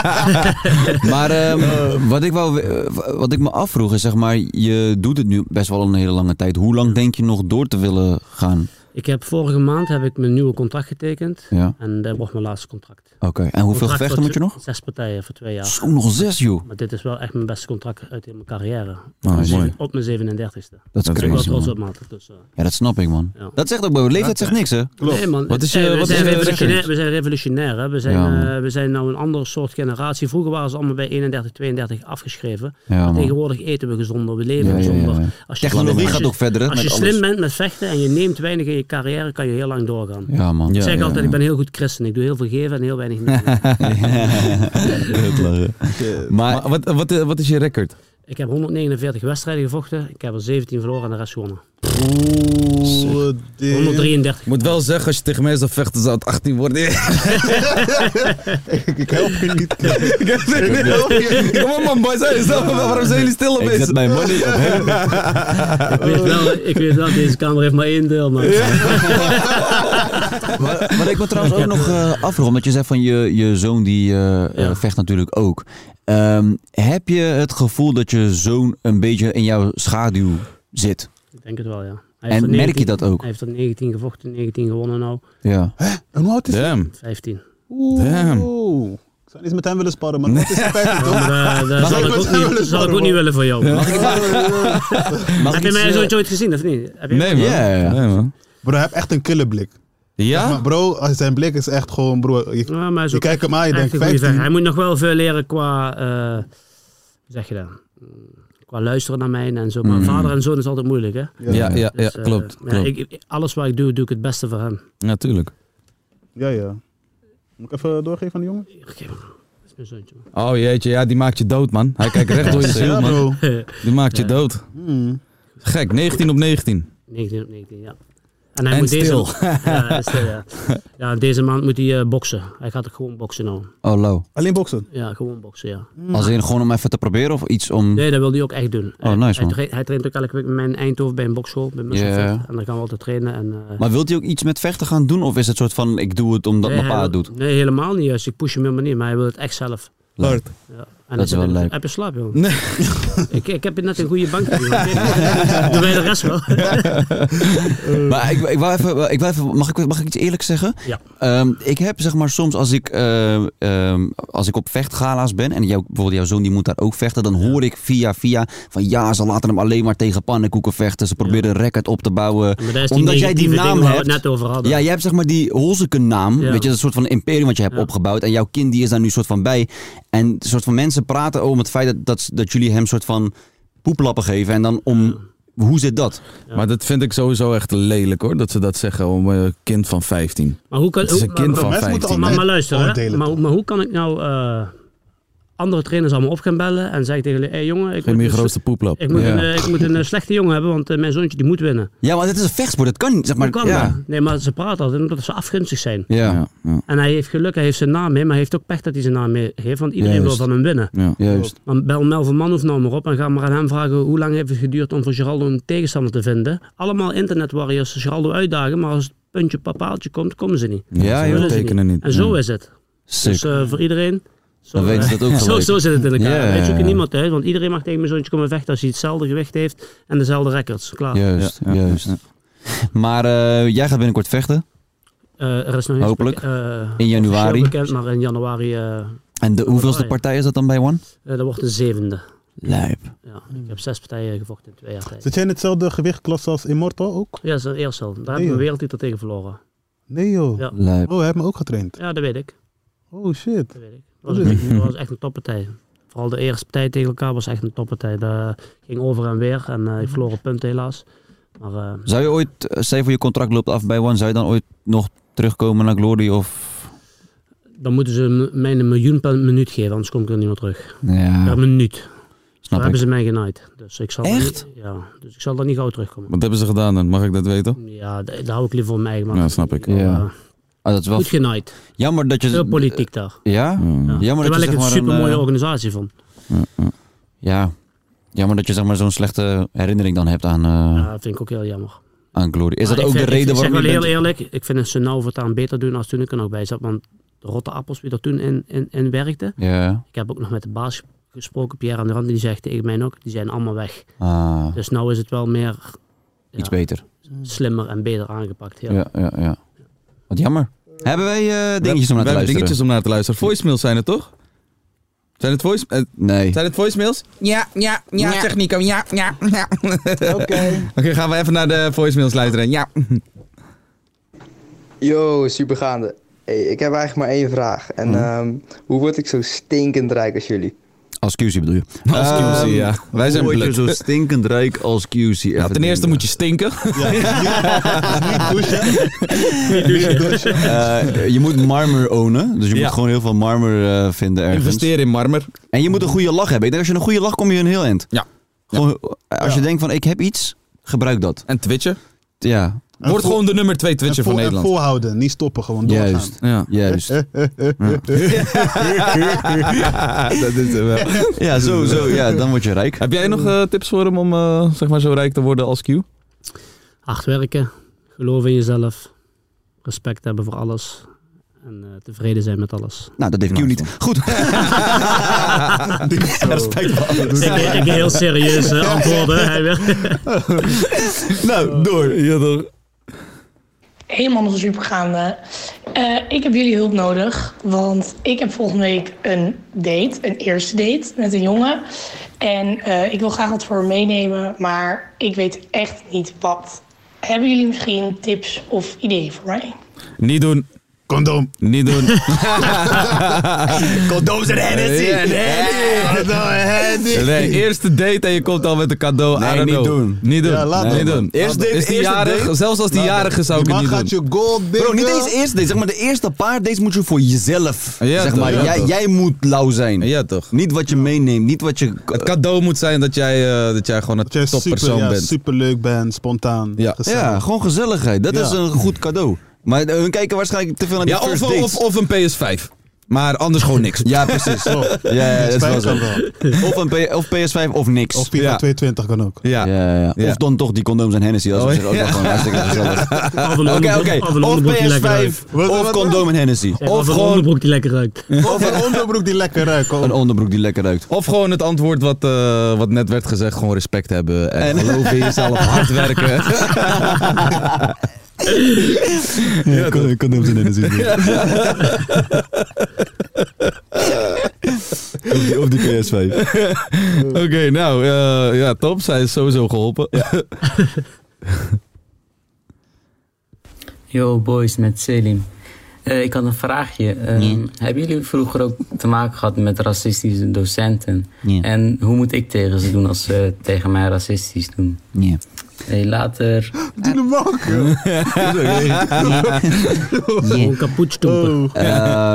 Maar ehm, wat, ik wou, eh, wat ik me afvroeg is, zeg maar, je doet het nu best wel een hele lange tijd. Hoe lang denk je nog door te willen gaan? ik heb vorige maand heb ik mijn nieuwe contract getekend. Ja. En dat wordt mijn laatste contract. Oké, en hoeveel Contract gevechten voor moet je tw- nog? Zes partijen voor twee jaar. Zo, nog zes, joh. Maar dit is wel echt mijn beste contract uit in mijn carrière. Ah, Dus mooi. Op mijn 37ste. Dat is Ik ben wel crazy, trots man. op, maat. Dus, eh, Ja, dat snap ik, man. Ja. Dat zegt ook, maar leeftijd zegt niks, hè? Nee, man. Wat is Hey, je, we, Eh, wat is zijn je revolutionair, record? we zijn revolutionair. Hè? We, zijn, Ja, man. eh, we zijn nou een andere soort generatie. Vroeger waren ze allemaal bij 31, 32 afgeschreven. Ja, man. Tegenwoordig eten we gezonder, we leven Ja, ja, ja, gezonder. ja. Technologie gaat ook verder, hè, Als je met slim alles. bent met vechten en je neemt weinig in je carrière, kan je heel lang doorgaan. Ja, man. Ik Ja, zeg ja, altijd, ja. ik ben heel goed christen. Ik doe heel veel geven en heel weinig nemen. Heel lachen. Maar wat, wat, wat is je record? Ik heb 149 wedstrijden gevochten. Ik heb er 17 verloren en de rest gewonnen. Oeh, 133. Moet wel zeggen, als je tegen mij zou vechten, zou het 18 worden. ik help je niet. Ik heb er niet over. Kom op man, boys. Hey, zo, waarom zijn jullie stil op Ik zet mijn money op hem. Ik weet wel, ik weet wel, deze kamer heeft maar één deel. Maar... Wat ik me trouwens ook nog eh afvroeg, omdat je zei van je, je zoon die eh, eh, vecht natuurlijk ook. Ehm, heb je het gevoel dat je zoon een beetje in jouw schaduw zit? Ik denk het wel, ja. En heeft er merk je dat ook? Hij heeft er 19 gevochten, 19 gewonnen nou. Ja. En hoe oud is hij? Damn. 15. Damn. Oeh. Ik zou eens met hem willen sparren, maar wat is hij vijftien, toch? Maar, eh, dat Mag zal ik ik met ook hem niet, willen zal ik sparren, ook niet man? willen voor jou. Mag ik- Heb je mij eh, zoiets ooit gezien of niet? Heb je- Nee man. Ja, ja, ja. Nee, man. Bro, hij heeft echt een kille blik. Zeg Ja? maar, bro, zijn blik is echt gewoon, bro. Je, Ja, maar hij is je ook kijkt hem aan, je echt denkt een goede 15. vechter. Hij moet nog wel veel leren qua, eh, hoe zeg je dat? Qua luisteren naar mij en zo. Maar Mhm. vader en zoon is altijd moeilijk, hè? Ja, ja, ja, eh, klopt, maar klopt. ik- ik- alles wat ik doe, doe ik het beste voor hem. Natuurlijk. Ja, ja. Moet ik even doorgeven aan de jongen? Dat is mijn zoontje. man. Oh jeetje, ja, die maakt je dood man. Hij kijkt recht door je ziel Ja, bro. man. Die maakt je Ja. dood. Hmm. Gek, 19 op 19. 19 op 19, ja. En hij En moet stil. deze. Ja, stil, ja. ja, deze maand moet hij eh, boksen. Hij gaat ook gewoon boksen nou. Oh, low. Alleen boksen? Ja, gewoon boksen, ja. Als in gewoon om even te proberen of iets om... Mm. Nee, dat wil hij ook echt doen. Oh, Hij- nice, hij, man. traint, hij traint ook elke week met mij in Eindhoven bij een bokschool, bij Muscle Ja. Fit. En dan gaan we altijd trainen. En, eh, Maar wilt hij ook iets met vechten gaan doen? Of is het soort van, ik doe het omdat nee, mijn hij pa het wil- doet? Nee, helemaal niet juist. Ik push hem helemaal niet, maar hij wil het echt zelf. Leuk. Ja. Dat is heb wel je- leuk. Heb je slaap, jongen? ik, ik heb je net een goede bank gegeven. Kijk, Doen wij de rest wel? Maar ik, ik wou even, ik wou even mag, ik, mag ik iets eerlijks zeggen? Eh. Ja. Ehm, ik heb zeg maar soms als ik, ehm, ehm, als ik op vechtgala's ben en jou, bijvoorbeeld jouw zoon die moet daar ook vechten, dan hoor ik via via van ja, ze laten hem alleen maar tegen pannenkoeken vechten. Ze proberen een record op te bouwen. Maar daar is die Omdat jij die negatieve naam ding waar we hebt. het net over hadden. Ja, jij hebt zeg maar die Holzeken naam. Ja. Weet je, dat soort van imperium wat je hebt opgebouwd. En jouw kind die is daar nu soort van bij. En een soort van mensen praten om het feit dat, dat, dat jullie hem soort van poeplappen geven. En dan om, hoe zit dat? Maar dat vind ik sowieso echt lelijk hoor, dat ze dat zeggen om een kind van 15. Maar hoe kan, Het is hoe- een kind maar- van maar- maar- 15. Maar, maar luister, hè. Oordelen, Maar, maar hoe kan ik nou eh, andere trainers allemaal op gaan bellen en zeggen tegen jullie... Hé hey, jongen, ik dus- Geef moet, me je een, grootste poeplap. ik moet, Ja. een, eh, ik moet een eh, slechte jongen hebben, want eh, mijn zoontje die moet winnen. Ja, want het is een vechtsport. Dat kan niet, zeg maar. Hoe kan ja. dat? Nee, maar ze praten altijd omdat ze afgunstig zijn. Ja. Ja, ja. En hij heeft geluk, hij heeft zijn naam mee, maar hij heeft ook pech dat hij zijn naam mee heeft, want iedereen Juist. wil van hem winnen. Ja. Juist. Dan bel Melvin Manhoef nou maar op en ga maar aan hem vragen hoe lang heeft het geduurd om voor Geraldo een tegenstander te vinden. Allemaal internetwarriors Geraldo uitdagen, maar als het puntje papaaltje komt, komen ze niet. Ja, Ze joh, willen ze tekenen niet. En zo Ja. is het. Sick. Dus eh, voor iedereen... Zo, Dan weten ze eh, dat ook zo, gelijk. zo zit het in elkaar. Ja. Wij zoeken niemand uit, want iedereen mag tegen mijn zoontje komen vechten als hij hetzelfde gewicht heeft en dezelfde records. Klaar. Juist, Ja, ja, juist. ja. Maar eh, jij gaat binnenkort vechten. Eh, er is nog niks Hopelijk. beke- In eh, januari. officieel bekend, maar in januari... eh, En de, hoeveelste partij. partij is dat dan bij One? Eh, dat wordt de zevende. Lijp. Ja, ik heb zes partijen gevochten in twee jaar tijd. Zit jij in hetzelfde gewichtklasse als Immortal ook? Ja, dat is een eerste. Daar heb ik joh. een wereldtitel tegen verloren. Nee joh. Ja. Lijp. Oh, hij heeft me ook getraind. Ja, dat weet ik. Oh shit. Dat weet ik. Dat Dat was, is- echt- dat was echt een toppartij. Vooral de eerste partij tegen elkaar was echt een toppartij. Dat ging over en weer en eh, ik verloor een punt helaas. Maar eh, Zou je ooit, eh, stel je voor je contract loopt af bij One, zou je dan ooit nog terugkomen naar Glory of... dan moeten ze m- mij een miljoen per minuut geven, anders kom ik er niet meer terug. Ja. Per minuut. Daar Snap hebben ik. ze mij genaaid. Dus ik zal er Echt? niet- ja, dus ik zal daar niet gauw terugkomen. Wat hebben ze gedaan dan? Mag ik dat weten? Ja, d- daar hou ik liever voor mij. Maar Ja, snap ik. Ja. Ah, dat is wel... Goed genaaid. Jammer dat je... Veel politiek daar. Ja? Ja. Jammer dat Terwijl je ik zeg een maar super mooie eh, organisatie vond. Ja. Jammer dat je zeg maar zo'n slechte herinnering dan hebt aan, eh, Ja, dat vind ik ook heel jammer. aan Glory. Is Maar dat ik ook vind- de reden ik, waarom Ik je zeg wel bent... heel eerlijk, ik vind het ze nou voortaan beter doen als toen ik er nog bij zat. Want de rotte appels die er toen in, in, in werkten. Ja. Ik heb ook nog met de baas gesproken, Pierre aan de Rand. Die zegt tegen mij ook, die zijn allemaal weg. Ah, Dus nou is het wel meer Iets beter. slimmer en beter aangepakt. Ja. Ja, ja, ja. Wat jammer. Hebben wij eh, dingetjes We- we om naar te hebben luisteren? dingetjes om naar te luisteren. Voicemails zijn het toch? Zijn het, voice, eh, Nee. zijn het voicemails? Ja, ja, ja, zeg Nico. Ja, ja, ja. Oké, gaan we even naar de voicemails luisteren. Ja. Yo, supergaande. Hey, ik heb eigenlijk maar één vraag. En ehm, hoe word ik zo stinkend rijk als jullie? Als QC bedoel je? Als QC, Ehm, ja. Wij zijn hoe word je blut. zo stinkend rijk als QC. Nou, ten eerste moet je stinken. Eh, je moet marmer ownen. Dus je Ja. moet gewoon heel veel marmer eh, vinden ergens. Investeren in marmer. En je moet een goede lach hebben. Ik denk als je een goede lach kom je een heel eind. Ja. Gewoon, eh, als je denkt van ik heb iets, gebruik dat. En twitchen. Ja. En Word vol- gewoon de nummer 2 en twitcher vol- van en Nederland. volhouden, niet stoppen, gewoon doorgaan. Juist. Ja. Juist. dat is het wel. Ja, zo, zo. Ja, dan word je rijk. Heb jij nog eh, tips voor hem om eh, zeg maar zo rijk te worden als Q? Hard werken, geloven in jezelf, respect hebben voor alles en eh, tevreden zijn met alles. Nou, dat heeft Q niet. Goed. Respect voor alles. Ik, ik heel serieus eh, antwoorden. Hij wil- Nou, door. Ja, toch. helemaal supergaande. Eh ik heb jullie hulp nodig, want ik heb volgende week een date, een eerste date met een jongen. En eh, ik wil graag wat voor hem meenemen, maar ik weet echt niet wat. Hebben jullie misschien tips of ideeën voor mij? Niet doen. Condoom. Niet doen. Condooms en Hennessy. Nee, eerste date en je komt al met een cadeau. Nee, I don't niet know. doen. Niet doen. Ja, laat Nee, het, niet man. doen. Eerst date, Is die eerste jarig? date? Zelfs als die jarige zou ik Die het man niet doen. gaat Nou, je gold Bro, niet diggen. eens eerst deze. Zeg maar de eerste paar dates moet je voor jezelf. Ja, zeg toch, maar, ja, jij, toch. jij moet lauw zijn. Ja, toch. Niet wat je meeneemt, niet wat je... Het cadeau moet zijn dat jij, eh, dat jij gewoon een Dat jij super, toppersoon ja, bent. superleuk bent, spontaan. Ja. gezellig. Ja, gewoon gezelligheid. Dat Ja. is een goed cadeau. Maar eh, hun kijken waarschijnlijk te veel naar die Ja, of, first of, dates. of, een PS5. Maar anders gewoon niks. Ja, precies. Klopt. Ja, ja, dat is wel Oh, Spijt zo. kan wel. Of, een P- of PS5 of niks. Of FIFA Ja. 220 kan ook. Ja. ja, ja. Ja. Of dan toch die condooms en Hennessy. Dat is Oh, op zich ook ja. wel gewoon hartstikke gezellig. Of een Oké, onderbroek- oké. Of een Of onderbroek die lekker PS5 ruikt. of condoom en Hennessy. Zeg maar, Of, een onderbroek die lekker ruikt. Of een onderbroek die lekker ruikt. Een onderbroek die lekker ruikt. Of gewoon het antwoord wat, eh, wat net werd gezegd. Gewoon respect hebben. En, En- geloven in jezelf. Hard werken. Ja, con- condooms en Hennessy. Of die- Of die PS5. Oké, Oh, nou. eh, ja, top. Zij is sowieso geholpen. Yo boys, met Selim. Eh, ik had een vraagje. Ehm, Hebben jullie vroeger ook te maken gehad met racistische docenten? Nee. En hoe moet ik tegen ze doen als ze tegen mij racistisch doen? Nee. Hey, later. Gewoon kapot stoppen. Eh,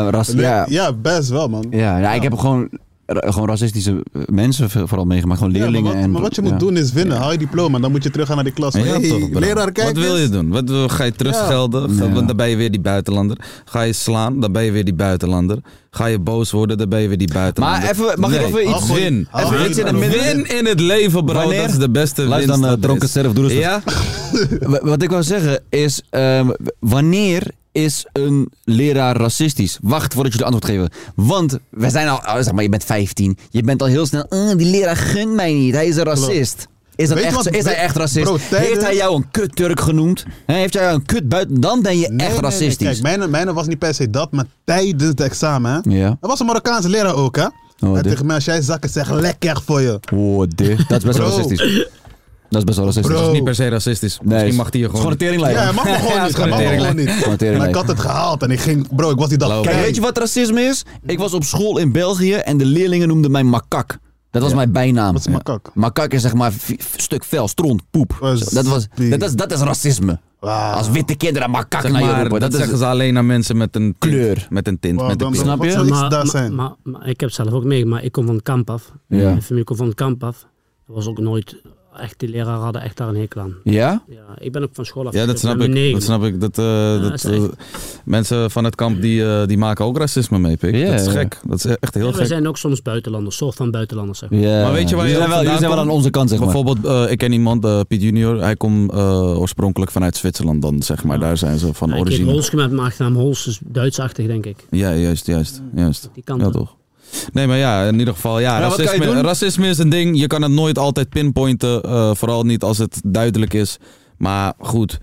ras- ja. Oh. Ja, best wel, man. Ja, ja, ik heb gewoon, ra- gewoon racistische eh, mensen v- vooral meegemaakt. Gewoon Ja, leerlingen. maar, wat, en, maar wat je moet ja. doen is winnen. Haal je diploma, dan moet je teruggaan naar die klas. Van, Oh Ja, hey, toch, bro. leraar, kijk Wat wil je eens. doen? Wat wil- ga je terugschelden? Ga- Ja. Want dan ben je weer die buitenlander. Ga je slaan? Dan ben je weer die buitenlander. Ga je boos worden? Dan ben je weer die buitenlander. Maar even- mag ik Nee, even iets- Win. Hou gewoon- Even iets in het hou midden. Win in het leven, bro. Wanneer? Dat is de beste winst. Luister dan, eh, dat er dronken is. sterf, doe rustig. Ja? Wa- Wat ik wil zeggen is, ehm, w- wanneer is een leraar racistisch? Wacht voordat jullie antwoord geven. Want we zijn al, oh, zeg maar, je bent 15. Je bent al heel snel, "Eh, die leraar gunt mij niet. Hij is een racist. Is, dat Weet je echt, wat- zo? is hij weet- echt racist? Bro, Heeft tijdens- hij jou een kut-Turk genoemd? Hè, Heeft hij jou een kut buiten? Dan ben je Nee, echt nee, nee, racistisch. Kijk, mijne, mijne was niet per se dat, maar tijdens het examen. Hè? Ja. Er was een Marokkaanse leraar ook, hè? wat Hij dit? tegen mij, als jij zakken zegt, lekker voor je. Oh, dit. Dat is best wel Bro. racistisch. Dat is best wel racistisch. Dat is niet per se racistisch. Misschien mag die je gewoon. gewoon een teringlijf. Ja, hij mag me gewoon niet. Hij mag me gewoon niet. Maar ik had het gehaald en ik ging... Bro, ik was die dag Kijk, keihard. weet je wat racisme is? Ik was op school in België en de leerlingen noemden mij makak. Dat was mijn bijnaam. Wat is makak? Makak is zeg maar vi- stuk vel, stront, poep. Zo, Dat, was, dat, is, dat is racisme. Als witte kinderen makak Zeg naar je maar, roepen. dat, Dat, is zeggen ze alleen aan mensen met een kleur. Met een tint. Wow, met een dan- kleur. dan- Snap je? Maar, daar zijn. Maar, maar ik heb zelf ook meegemaakt. Ik kom van het kamp af. Ja. Mijn familie komt van het kamp af. Er was ook nooit... Echt, die leraren hadden echt daar een hekel aan. Ja? Ja, ik ben ook van school af. Ja, dat snap ben ik. negen. Dat snap ik. Dat, eh, dat is dat, eh, mensen van het kamp die, eh, die maken ook racisme mee, pik. Ja, dat is ja. gek. Dat is echt heel En gek. we zijn ook soms buitenlanders, soort van buitenlanders. Zeg Maar weet je waar je ook vandaan komt? Bijvoorbeeld, eh, ik ken iemand, eh, Piet Junior. Hij komt eh, oorspronkelijk vanuit Zwitserland dan, zeg maar. Daar zijn ze van Ja, ik heet origine. Holske met mijn achternaam Hols, dus Duitsachtig denk ik. Ja, juist, juist, juist. Die kant ja, op. toch. Nee, maar ja, in ieder geval, ja, Ja, wat kan je racisme, doen? racisme is een ding. Je kan het nooit altijd pinpointen, eh, vooral niet als het duidelijk is. Maar goed,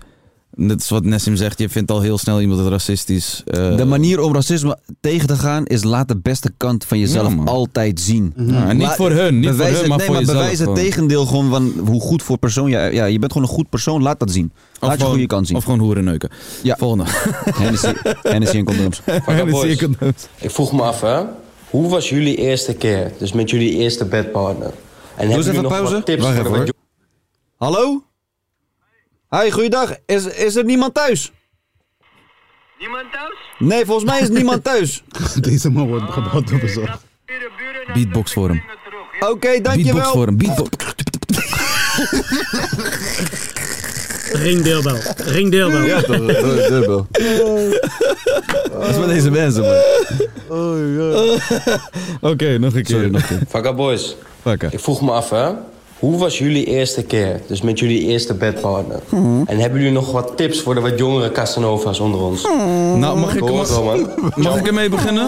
dat is wat Nessim zegt. Je vindt al heel snel iemand het racistisch. eh, de manier om racisme tegen te gaan is laat de beste kant van jezelf Ja, man. altijd zien. Ja, en niet Laat- voor hun, niet voor bewijs hun, het- maar nee, voor maar jezelf Bewijs het gewoon. tegendeel gewoon van hoe goed voor persoon je... Ja, je bent gewoon een goed persoon, laat dat zien. Laat je gewoon- goede kant zien. Of gewoon hoeren neuken. Ja. Volgende. Hennessy, Hennessy en condooms. Ik vroeg me af, hè. Hoe was jullie eerste keer? Dus met jullie eerste bedpartner. En Doe eens jullie even nog pauze. wat tips Wacht voor de even, wat Hallo? Hi, goeiedag. Is, is er niemand thuis? Nee, volgens mij is niemand thuis. Deze man wordt gebouwd door bezorgd. Beatbox voor hem. Oké, dankjewel. Beatbox voor hem, beatbox. Ringdeelbel, ringdeelbel. Ja, toch, deurbel. Wat is met deze mensen, man? Oké, nog een keer. Vakka boys. Ik vroeg me af, hè. Hoe was jullie eerste keer? Dus met jullie eerste bedpartner. Mhm. En hebben jullie nog wat tips voor de wat jongere Casanova's onder ons? Nou, mag ik, Hoor het wel, man. mag, mag ik ermee beginnen?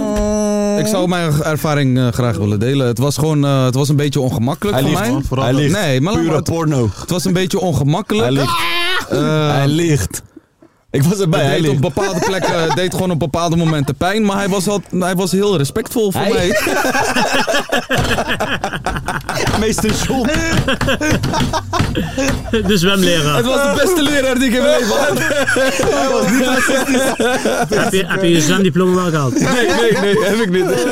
Ik zou mijn ervaring eh, graag willen delen. Het was gewoon, eh, het was een beetje ongemakkelijk Hij voor liegt, mij. man. Vooral Hij dat. liegt. Nee, maar laat Pure maar, het, porno. Het was een beetje ongemakkelijk. Hij liegt. Eh, Hij liegt. Ik was erbij, Het Ehm, hij deed liegt. op bepaalde plekken, het deed gewoon op bepaalde momenten pijn. Maar hij was, al, hij was heel respectvol voor Hij- mij. Meester John. De zwemleraar. Het was de beste leraar die ik heb meegemaakt. Hij was niet racistisch. Heb je, heb je je zwemdiploma wel gehaald? Nee, nee, nee, heb ik niet.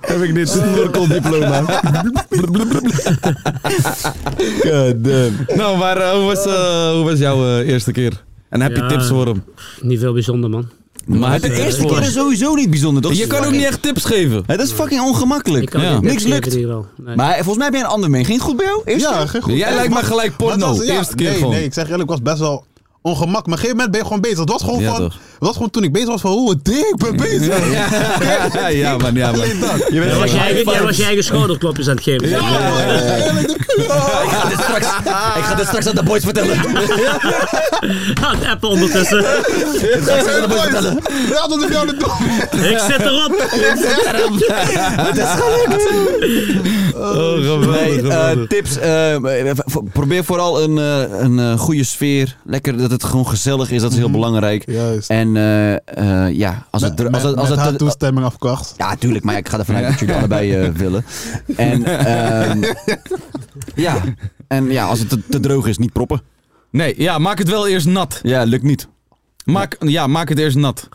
Heb ik niet. Snorkeldiploma. God Nou, maar eh, hoe, was, eh, hoe was jouw eh, eerste keer? En heb je Ja, tips voor hem? Niet veel bijzonder, man. Maar heb je De eerste keer is sowieso niet bijzonder, toch? Je kan ook niet echt tips geven. Het is fucking ongemakkelijk. kan Ja. ook Niks tips geven lukt. in ieder geval. Nee. Maar volgens mij heb je een ander mee. Ging het goed bij jou? Eerst Ja, geen goed. Jij lijkt me gelijk porno, Maar het was- eerste keer nee, gewoon. Nee, ik zeg eerlijk, ik was best wel ongemak. Maar op een gegeven moment ben je gewoon bezig. Het was gewoon Ja, van... toch. Het was gewoon toen ik bezig was van... Oh, wat dik, ik ben bezig. Ja, ja, man, ja, man. Je Jij was, je eigen, jij was je eigen schouderklopjes aan het geven. Ik ga dit straks aan de boys vertellen. Aan het appen ondertussen. Ik ga straks aan de boys vertellen. Ja, dat is jou de dom. Ik zit erop. Ik zit erop. Het is gelukt. Oh, Nee, eh, tips. eh, v- probeer vooral een, eh, een eh, goede sfeer. Lekker dat het gewoon gezellig is. Dat is Mhm. heel belangrijk. En eh, eh, ja, als het... er- Als het, als Met het, haar toestemming afkocht. ja, tuurlijk, maar ik ga ervan uit dat jullie allebei eh, willen. En ehm, ja. en ja, als het te, te droog is, niet proppen. Nee, ja, maak het wel eerst nat. Ja, lukt niet. Maak, ja, maak het eerst nat.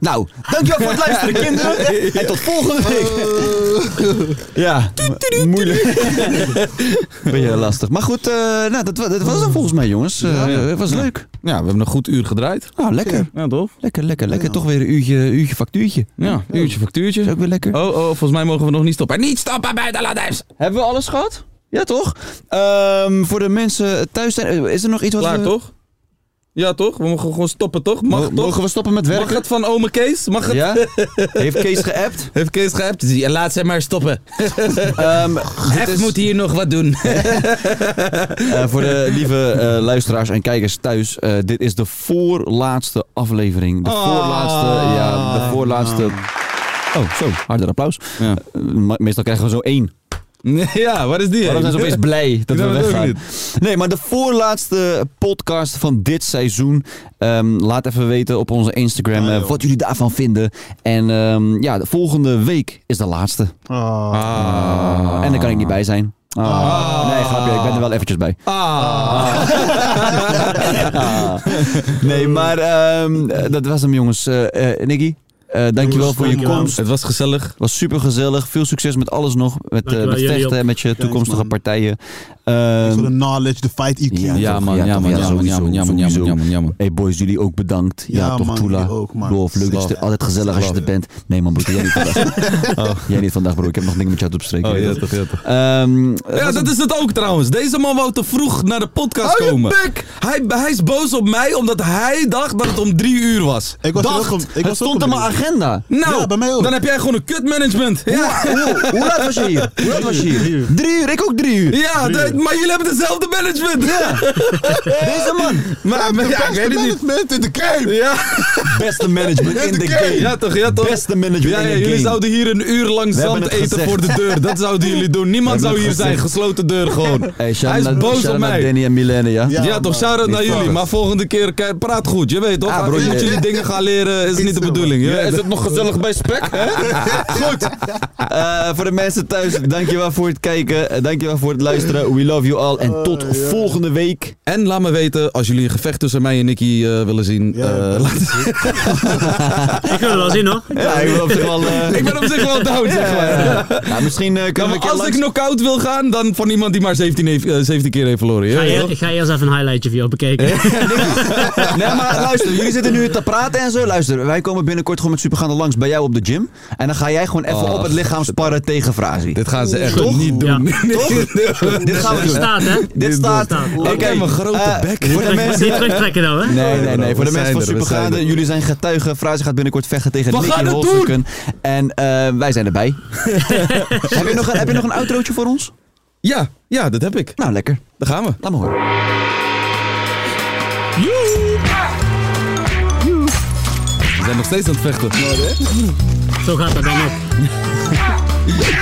Nou, dankjewel voor het luisteren, kinderen. En tot volgende week. Ja, moeilijk. Ben je lastig. Maar goed, eh, nou, dat, wa- dat was het volgens mij, jongens. Eh, Het was leuk. Ja, we hebben een goed uur gedraaid. Nou, lekker. Ja, toch? Lekker, lekker, lekker. Toch weer een uurtje, uurtje factuurtje. Ja, uurtje factuurtje. Is ook weer lekker. Oh, oh, volgens mij mogen we nog niet stoppen. Niet stoppen bij de ladijs! Hebben we alles gehad? Ja, toch? Ehm, voor de mensen thuis, zijn, is er nog iets wat Klaar, we... toch? Ja, toch? We mogen gewoon stoppen, toch? Mag, Mogen toch? we stoppen met werken? Mag het van ome Kees? Mag het? Ja? Heeft Kees geappt? Heeft Kees geappt? Ja, Laat zij maar stoppen. Ehm, Hef moet hier nog wat doen. Eh, voor de lieve eh, luisteraars en kijkers thuis, eh, dit is de voorlaatste aflevering. Ah. De voorlaatste, ja, de voorlaatste. Oh, zo, harder applaus. Eh, me- meestal krijgen we zo één. ja, wat is die? Waarom zijn ze opeens blij dat Ik we snap het ook weggaan? niet. Nee, maar de voorlaatste podcast van dit seizoen. Ehm, laat even weten op onze Instagram Ah, eh, wat jullie daarvan vinden. En ehm, ja, de volgende week is de laatste. Ah. En daar kan ik niet bij zijn. Ah. Nee, grapje, ik ben er wel eventjes bij. Ah. Ah. Nee, maar ehm, eh, dat was hem, jongens. Eh eh, Nicky, eh, dankjewel Jongens, voor je dankjewel. komst. Het was gezellig. was super gezellig. Veel succes met alles nog. Met, eh, Dankjewel, met jullie vechten, ook. en met je Thanks, toekomstige man. partijen. Voor de Ehm knowledge, de fight E IQ. ja, toch? toch? toch? sowieso, sowieso. Hey boys, jullie ook bedankt. Ja, Ja, toch, man, Tula. jullie ook, man. Love, leuk. dat je Love. er- Altijd gezellig als je er bent. Nee man, broer, jij niet vandaag. Jij niet vandaag, broer. Ik heb nog dingen met jou te bespreken. Ehm, eh, Oh, ja, toch, ja, toch. Ja, dat is het ook trouwens. Deze man wou te vroeg naar de podcast Hou je komen. Hij, hij is boos op mij omdat hij dacht dat het om drie uur was. Ik was dacht, ook om- ik was ook om drie uur. Nou, Ja, bij mij ook. dan heb jij gewoon een kutmanagement. Ja. hoe- hoe laat was je hier? Hoe laat was je hier? Drie uur. Drie uur, ik ook drie uur. Ja, Drie dat- uur. maar jullie hebben dezelfde management. Deze man. Maar, maar ja, ik weet het niet. Management in de game. Ja. Beste management in the game. Ja toch, ja toch. Beste management Ja, ja, in the jullie game. zouden hier een uur lang We hebben zand het eten gezegd. voor de deur. Dat zouden jullie doen. Niemand We hebben zou het hier zijn. gezegd. Gesloten deur gewoon. Hey, Hij is boos op mij. Danny en Milene, ja? Ja, toch, shout-out Niet naar jullie. fout. Maar volgende keer ki- praat goed, je weet toch? Ah, Als bro, je je- moet jullie dingen gaan leren, is het niet de bedoeling. je Ja, weet is toch? het nog gezellig bij Spek? Goed. Eh, voor de mensen thuis, dankjewel voor het kijken. Eh, Dankjewel voor het luisteren. We love you all. En tot volgende week. En laat me weten als jullie een gevecht tussen mij en Nicky eh, willen zien. eh, laat- Ik wil er wel zien hoor. Ja, ik ben op zich wel... eh, ik ben op zich wel down, zeg maar. Nou, misschien eh, Ja, kunnen we maar een keer als ik langs- knock-out wil gaan, dan van iemand die maar 17, heeft, eh, 17 keer heeft verloren. je Ga weet je- toch? Ik ga eerst even een highlightje van jou bekijken. Nee, maar luister, jullie zitten nu te praten en zo. Luister, wij komen binnenkort gewoon met Supergaande langs bij jou op de gym. En dan ga jij gewoon even Oh, op het lichaam sparren tegen Frazi. Dit gaan ze echt Toch? niet doen. Ja. Nee, Toch? nee. Dit gaan we Dit doen. staat, hè? Dit staat. staat. Oké, Oké, mijn grote eh, bek. Voor de mensen... Niet terugtrekken nou, hè? Nee, nee, nee. Voor de Oh, We mensen zijn er, van we Supergaande, zijn er. jullie zijn getuigen. Frazi gaat binnenkort vechten tegen We gaan Nicky het Holzoeken. En eh, wij zijn erbij. heb, je nog, een- heb je nog een outrootje voor ons? Ja, ja, dat heb ik. Nou, lekker. Daar gaan we. Laat me horen. We zijn nog steeds aan het vechten. Nou, Zo gaat dat dan ook.